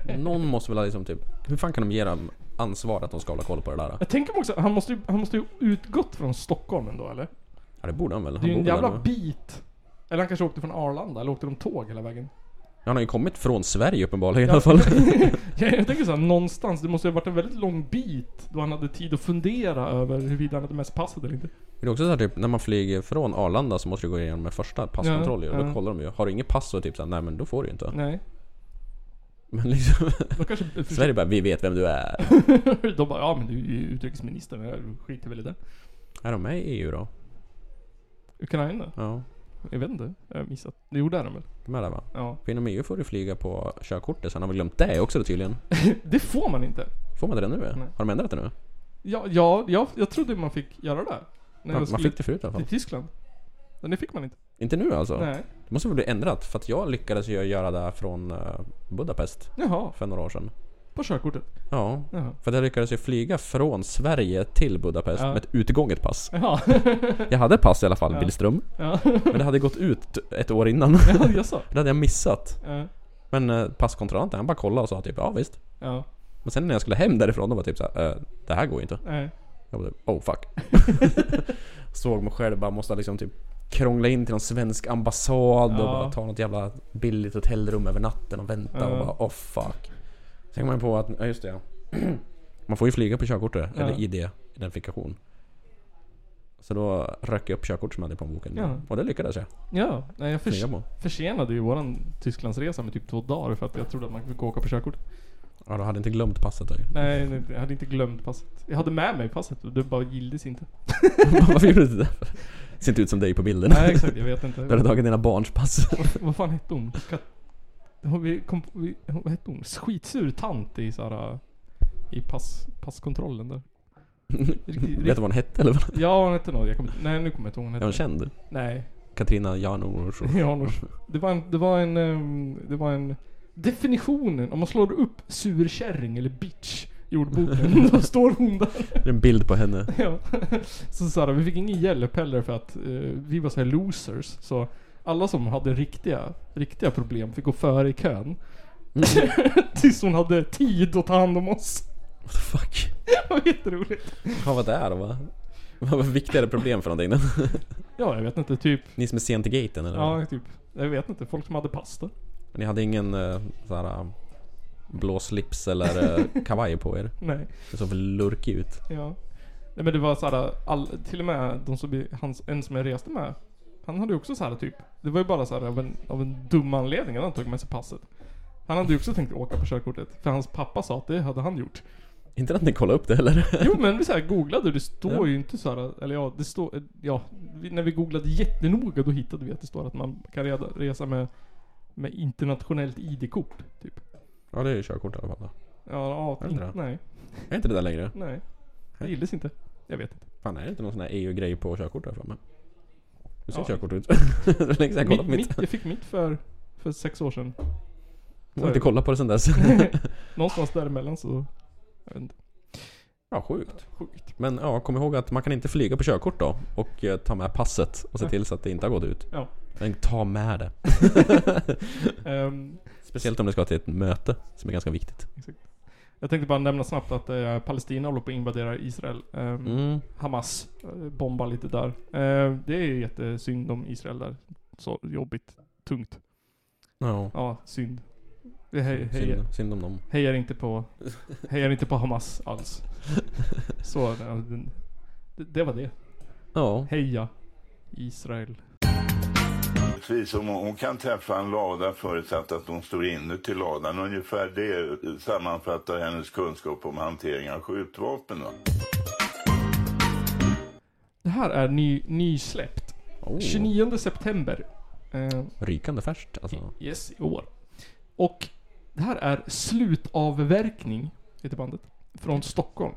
det. Någon måste väl ha liksom typ... Hur fan kan de ge dem ansvar att de ska hålla koll på det där?
Jag tänker mig också, han måste, ju, han måste ju utgått från Stockholm ändå eller?
Ja det borde han väl?
Det är
Han,
ju en
borde väl
jävla
ha-
bit. Eller han kanske åkte från Arlanda, eller åkte de tåg hela vägen? [LAUGHS]
han har ju kommit från Sverige uppenbarligen
Ja.
i
[LAUGHS]
alla fall.
Ja, jag tänker såhär, någonstans, det måste ju ha varit en väldigt lång bit då han hade tid att fundera över huruvida han hade mest passet eller inte.
Det är också så här, typ, när man flyger från Arlanda så måste du gå igenom en första passkontroll ju. och Då
ja.
kollar de ju. Har du inget pass så typ såhär, nej men då får du ju inte.
Nej.
Men liksom, [LAUGHS]
Då kanske... [LAUGHS]
Sverige bara, vi vet vem du är.
De bara, ja men du är ju utrikesminister, men jag skiter väl i det.
är de med i EU då?
Ukraina?
Ja.
Jag vet inte. Jag har missat. Det gjorde de väl?
De är där va?
Ja.
För inom EU får du flyga på körkortet så han har väl glömt det också då, tydligen.
Det får man inte.
Får man det nu? eller?
Nej.
Har de ändrat det nu?
Ja, ja jag, jag trodde man fick göra det. När jag
Man, man
skulle
fick det förut i alla
till
fall.
Tyskland. Men det fick man inte.
Inte nu alltså?
Nej.
Det måste väl bli ändrat? För att jag lyckades ju göra det här från eh, Budapest
Jaha.
för några år sedan.
På körkortet.
Ja.
Jaha.
För att jag lyckades ju flyga från Sverige till Budapest
Ja.
med ett utgånget pass.
Jaha. [LAUGHS]
Jag hade pass i alla fall,
Ja.
Billström.
ja.
Men det hade gått ut ett år innan.
ja, jag sa.
[LAUGHS] Det hade jag missat.
Ja.
Men eh, passkontrollanten han bara kollade och sa typ ja visst.
Ja.
Men sen när jag skulle hem därifrån då var jag typ såhär, eh, det här går ju inte.
Nej.
Jag bara typ,
[LAUGHS]
oh fuck. Såg mig själv bara måste liksom typ krångla in till någon svensk ambassad och
Ja.
bara ta något jävla billigt hotellrum över natten och vänta och
Ja.
bara oh fuck. Sen kom man på att, ja just det ja. [CLEARS THROAT] Man får ju flyga på körkortet,
Ja.
eller ID, identifikation. Så då rök jag upp körkort som jag hade på boken.
Ja.
Och det lyckades jag
Ja. Nej, jag
flyga
förs-
på.
försenade ju våran Tysklandsresa med typ två dagar för att jag trodde att man fick åka på körkortet.
Ja, då hade jag inte glömt passet där ju. [LAUGHS]
Nej, nej, jag hade inte glömt passet. Jag hade med mig passet och det bara gilldes inte.
Varför gjorde du det? Ser inte ut som dig på bilden.
Nej,
[LAUGHS]
exakt. Jag vet
Du hade
inte.
tagit dina barns pass.
[LAUGHS] Vad fan hette hon? Kat- hon- Vi kom, vi, hon- vad hette hon? Skitsur tant i såhär... I pass, passkontrollen där. Riktigt-
Vet du vad hon hette eller? vad?
Ja, hon hette något. Jag kommer, nej, nu kommer jag inte ihåg vad
Är
hon
hon
hette.
känd?
Nej. [LAUGHS]
Katrina Janouch.
Ja, hon- det var en... Det var en... ehm, Det var en definitionen. Om man slår upp surkärring eller bitch i ordboken. [LAUGHS] då står hon där.
Det är en bild på henne.
Ja. [LAUGHS] Så Sara, vi fick ingen hjälp heller för att eh, vi var så här losers. Så alla som hade riktiga, riktiga problem fick gå före i kön. [LAUGHS] Tills hon hade tid att ta hand om oss. [LAUGHS]
What the fuck?
Det var jätteroligt.
Fan vad det är va? Vad var viktigare problem för någonting? [LAUGHS]
Ja, jag vet inte. Typ.
Ni som är sent i gaten eller?
Ja, typ. Jag vet inte. Folk som hade pasta.
Ni hade ingen eh, såhär eh, blå slips eller eh, kavaj på er?
Nej.
Det såg för lurkig ut.
Ja. Nej men det var såhär, all, till och med de som, hans, en som jag reste med. Han hade ju också såhär typ. Det var ju bara såhär av en, av en dum anledning att han tog med sig passet. Han hade ju också tänkt åka på körkortet. För hans pappa sa att det hade han
[LAUGHS]
gjort.
Inte att ni kollade upp det heller?
Jo men vi såhär googlade och det står
Ja.
ju inte såhär, eller ja det står, ja. Vi, när vi googlade jättenoga då hittade vi att det står att man kan reda, resa med, med internationellt ID-kort. Typ.
[LAUGHS] Ja det är ju körkort i alla fall då.
Ja, ja
Är det
in,
det?
nej,
Är inte det där längre?
nej. Det gillas inte. Jag vet inte.
Fan är det inte någon sån här EU-grej på körkort där framme? Hur ser
Ja.
körkort ut? [LAUGHS] det var länge sedan jag kollade på
Mitt,
mitt.
mitt, jag fick mitt för, för sex år sedan.
Jag har inte kollat på det
[LAUGHS]
sen dess.
Någonstans däremellan så... Jag vet inte.
ja sjukt.
Sjukt.
Men ja, kom ihåg att man kan inte flyga på körkort då. Och eh, ta med passet och se
Nej.
till så att det inte har gått ut.
Ja.
Men ta med det.
Ehm,
Speciellt om du ska till ett möte som är ganska viktigt.
jag tänkte bara nämna snabbt att eh, Palestina håller på att invadera Israel. Ehm,
Mm.
Hamas eh, bombar lite där. Ehm, det är ju jättesynd om Israel där. Så jobbigt. Tungt.
Ja.
Ja, synd. Vi he- hejar,
Synd, synd om dem.
hejar inte
[LAUGHS]
på... Hejar inte på Hamas alls. Så, ja, den- det, det var det.
Ja.
Heja Israel.
Precis, om hon hon kan träffa en lada förutsatt att hon står inuti ladan. Ungefär det sammanfattar hennes kunskap om hantering av skjutvapen. Va?
Det här är ny, nysläppt.
Oh.
29 september. Ehm,
Rykande färskt alltså.
Yes, i år. Och det här är Slutavverkning, heter bandet. Från Stockholm.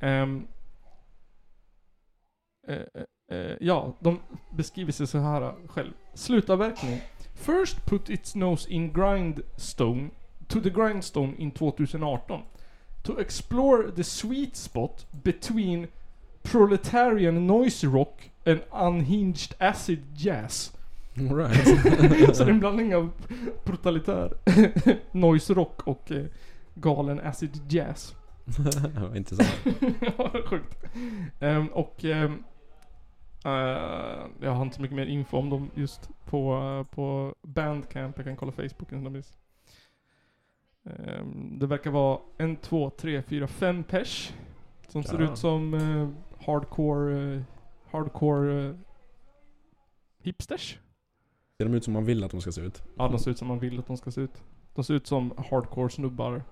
Ehm, eh, eh, eh, ja, de beskriver sig så här själv. Slutavverkning. First put its nose in grindstone, to the grindstone in 2018. To explore the sweet spot between proletarian noise rock and unhinged acid jazz.
[LAUGHS] All [LAUGHS] right.
Så det är en blandning av brutalitär [LAUGHS] noise rock och eh, galen acid jazz. [LAUGHS]
Intressant.
Ja, Sjukt. Ehm, och ehm, eh, jag har inte så mycket mer info om dem just på, eh, på Bandcamp. Jag kan kolla Facebooken om de minns. Ehm, det verkar vara en, två, tre, fyra, fem pers. Som ser
Ja.
ut som eh, hardcore, eh, hardcore eh, hipsters.
Ser de ut som man vill att de ska se ut?
Ja, de ser ut som man vill att de ska se ut. De ser ut som hardcore snubbar.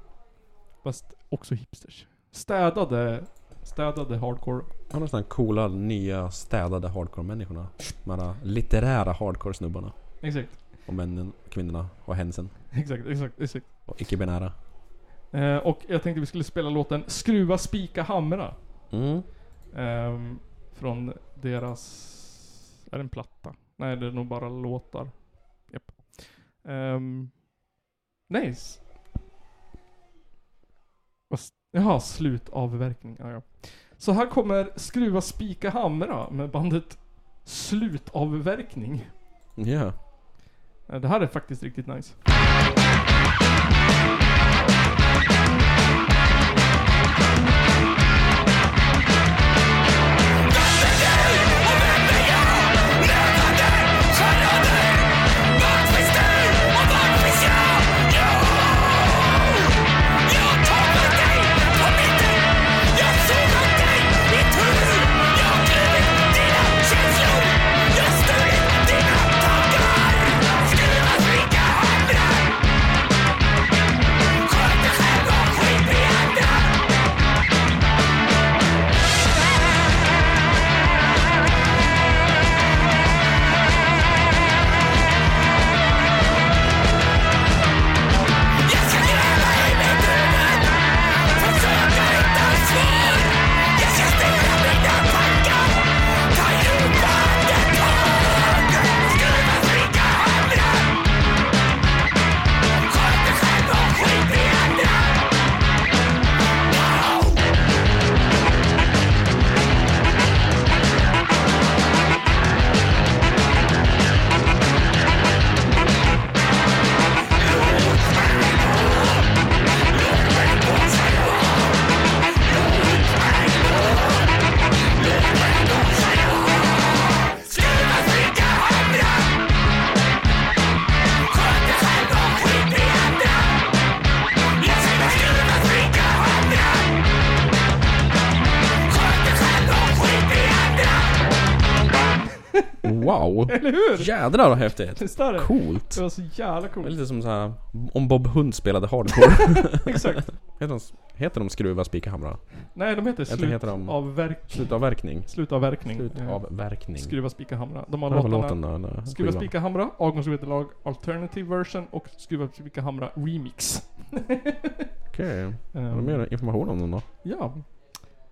Fast också hipsters. Städade, städade hardcore.
Har de sådana coola, nya, städade hardcore-människorna? De här litterära hardcore-snubbarna.
Exakt,
Och männen, kvinnorna och hänsen.
exakt, exakt, exakt.
Och icke-binära.
Eh, och jag tänkte vi skulle spela låten 'Skruva, spika, hamra'
Mm.
ehm, Från deras... Är det en platta? Nej, det är nog bara låtar. Japp. Ehm, nice. Vad s- Jaha, slutavverkning. Ja, ja. Så här kommer 'Skruva, spika, hamra' med bandet Slutavverkning.
Ja.
Eh, Det här är faktiskt riktigt nice. [LAUGHS]
Yeah.
[LAUGHS] Wow!
Eller hur?
Jädrar vad häftigt!
Visst är det?
Coolt!
Det var så jävla [LAUGHS]
Det är
coolt.
lite som så här om Bob Hund spelade [LAUGHS] hardcore.
Exakt.
heter, de, heter de skruva, spika, hamra?
Nej, de heter slut
heter de-
av verk...
Slutavverkning?
Slutavverkning.
Slutavverkning.
Skruva, spika, hamra. De har
Vad var
låtarna.
låten då? eller
Skruva,
skivan?
spika, hamra, avgångsvederlag, alternative version och Skruva, spika, hamra remix.
Okej. Har du
Ehm,
mer information om den då?
Ja.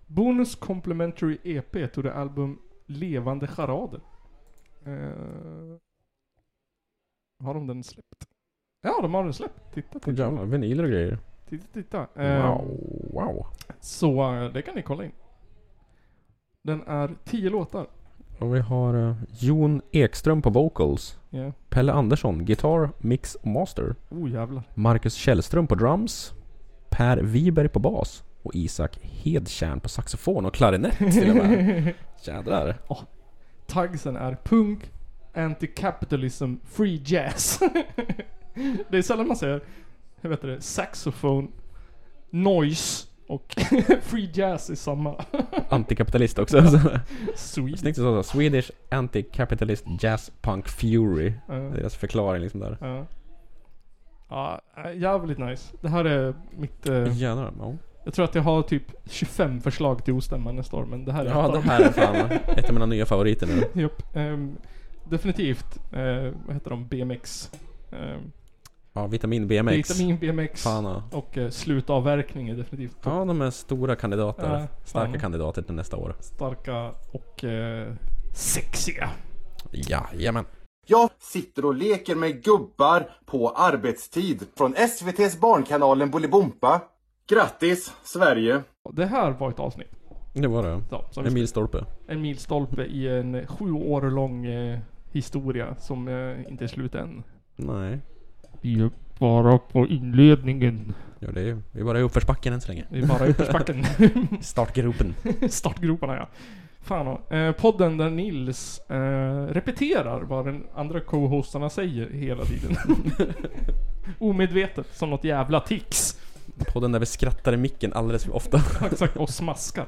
Bonus E Complementary EP to the album Levande charader. Eh, har de den släppt? Ja, de har den släppt. Titta,
Åh,
titta.
Jävlar, vinyler och grejer.
titta, titta. Eh,
Mm. Wow, wow.
Så eh, det kan ni kolla in. Den är 10 låtar.
Och vi har eh, Jon Ekström på vocals.
Yeah.
Pelle Andersson, gitarr, mix och master.
Oh jävlar.
Marcus Källström på drums. Per Wiberg på bas. Och Isak Hedtjärn på saxofon och klarinett till och med.
[LAUGHS]
Jädrar.
Tagsen är punk, anti-capitalism, free jazz. [LAUGHS] det är sällan man säger, jag vet det, saxofon, noise och [LAUGHS] free jazz i samma. [LAUGHS]
Antikapitalist också. Så.
Sweet.
[LAUGHS] Snyggt det står så. Swedish Anti-Capitalist Jazz Punk Fury.
Ja.
Det är deras förklaring liksom där.
Ja. Ja, äh, jävligt nice. Det här är mitt... eh,
Jädrar. Ja.
jag tror att jag har typ 25 förslag till ostämman nästa år, men det här är ett
Ja,
av
de
dem.
här är fan ett av mina nya favoriter nu.
Japp. ehm, definitivt, eh, vad heter de? BMX. Um,
Ja, Vitamin BMX.
Vitamin BMX.
Fan ja.
Och eh, slutavverkning är definitivt
Ja, de är stora kandidater.
Ja,
Starka
fan.
kandidater till nästa år.
starka och eh, sexiga.
Jajamän.
Jag sitter och leker med gubbar på arbetstid från SVT's barnkanalen Bolibompa. Grattis, Sverige!
Det här var ett avsnitt.
Det var det.
Så, som vi
En milstolpe.
en milstolpe i en sju år lång eh, historia som eh, inte är slut än.
Nej.
Vi är bara på inledningen.
Ja, det är ju. Vi är bara i uppförsbacken än så länge.
Vi är bara i uppförsbacken. [LAUGHS]
Startgropen.
Startgroparna ja. Fan och, eh, Podden där Nils eh, repeterar vad den andra co-hostarna säger hela tiden. Omedvetet som något jävla tics.
Podden där vi skrattar i micken alldeles för ofta.
[LAUGHS] Exakt, och smaskar.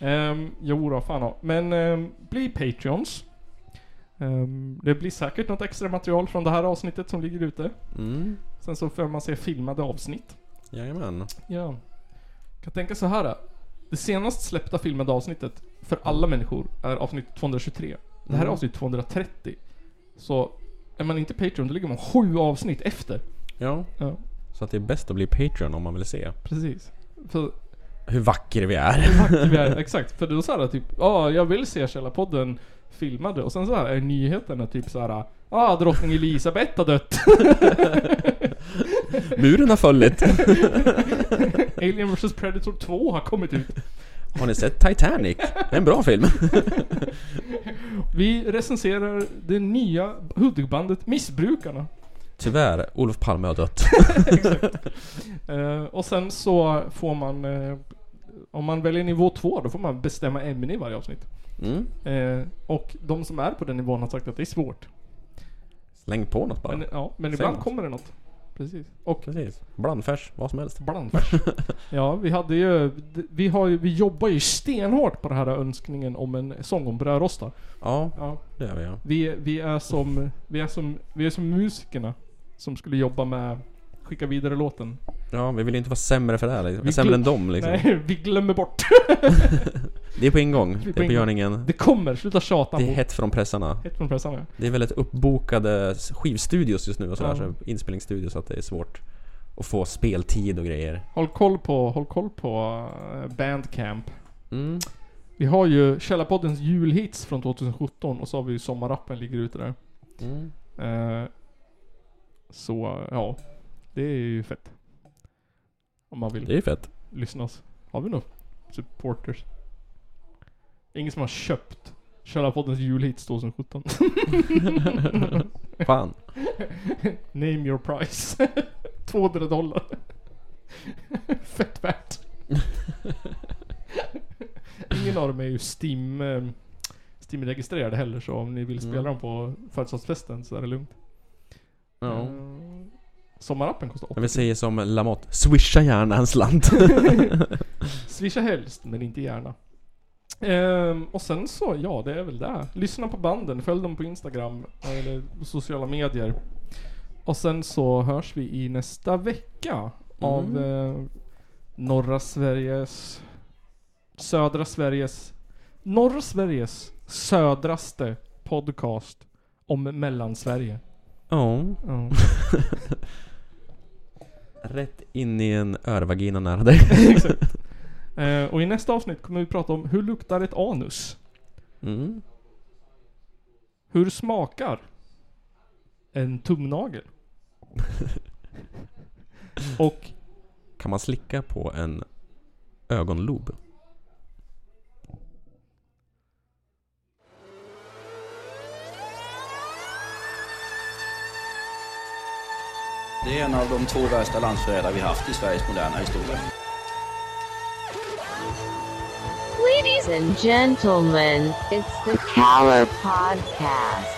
Um, jo då, fan då. Men ehm, bli Patreons. Ehm, det blir säkert något extra material från det här avsnittet som ligger ute.
Mm.
Sen så får man se filmade avsnitt.
Jajamän.
Ja. Kan tänka så här. Det senast släppta filmade avsnittet för alla människor är avsnitt 223. Det här är
Mm.
avsnitt 230. Så är man inte Patreon, då ligger man sju avsnitt efter.
Ja.
Ja,
Så att det är bäst att bli Patreon om man vill se
precis. För
hur vacker vi är.
[LAUGHS] Vi är- Exakt, för då såhär typ, ja jag vill se Källarpodden filmade och sen så här är nyheterna typ såhär, ja ah, drottning Elisabeth har dött. [LAUGHS]
Muren har fallit.
Alien vs Predator 2 har kommit ut.
Har ni sett Titanic? Det är en bra film.
Vi recenserar det nya Hudik-bandet Missbrukarna.
Tyvärr, Olof Palme har dött.
Eh, och sen så får man, eh, om man väljer nivå 2 då får man bestämma ämne i varje avsnitt.
Mm.
Eh, och de som är på den nivån har sagt att det är svårt.
Släng på något bara.
Men, ja, men
Säg
ibland
något.
kommer det något. Precis. Och
Precis. Blandfärs, vad som helst. [LAUGHS]
Blandfärs. ja, vi hade ju... d- Vi, har ju, vi jobbar ju stenhårt på den här önskningen om en sång om brödrostar.
Ja,
Ja.
det gör vi ja.
Vi, vi, är som, vi, är som, vi är som musikerna som skulle jobba med Skicka vidare låten.
Ja, vi vill ju inte vara sämre för det här. Liksom.
Vi
Sämre
glö-
än dem liksom.
Nej, [LAUGHS] vi glömmer bort.
Det är på ingång.
är på
Det är på
ingång.
görningen.
Det kommer, sluta tjata.
Det är
Bo.
hett från pressarna.
Hett från pressarna.
Det är väldigt uppbokade skivstudios just nu och sådär.
Ja.
Så inspelningsstudios så att det är svårt att få speltid och grejer.
Håll koll på, håll koll på eh, Bandcamp.
Mm.
Vi har ju Källarpoddens julhits från 2017 och så har vi ju Sommarrappen ligger ute där.
Mm.
Eh, Så ja, det är ju fett. Om man
Det
vill
är ju fett.
lyssna oss. Har vi nog supporters? Ingen som har köpt Källarpoddens julhits 2017.
Fan.
Name your price. [LAUGHS] 200 dollar. [LAUGHS] fett
[LAUGHS]
värt. Ingen av dem är ju Steam, eh, Steam-registrerade heller så om ni vill spela
Mm.
dem på födelsedagsfesten så är det lugnt.
Ja.
Mm. Sommarappen kostar 80.
Men vi säger som
[LAUGHS]
Lamotte, swisha gärna en slant.
Swisha helst, men inte gärna. Ehm, och sen så, ja det är väl det. Lyssna på banden, följ dem på Instagram eller sociala medier. Och sen så hörs vi i nästa vecka av eh, norra Sveriges, södra Sveriges, norra Sveriges södraste podcast om mellansverige.
Ja.
Ja.
Rätt in i en örvagina nära
[LAUGHS]
dig.
Exakt. Eh, och i nästa avsnitt kommer vi prata om hur luktar ett anus?
Mm.
Hur smakar en tumnagel? och
Kan man slicka på en ögonlob?
Det är en av de två värsta landsförrädare vi haft i Sveriges moderna historia.
Ladies and gentlemen, it's the Caller Podcast.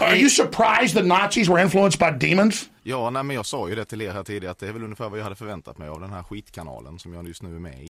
Are you surprised that Nazis were influenced by demons?
Ja, nej, men jag sa ju det till er här tidigare att det är väl ungefär vad jag hade förväntat mig av den här skitkanalen som jag just nu är med i.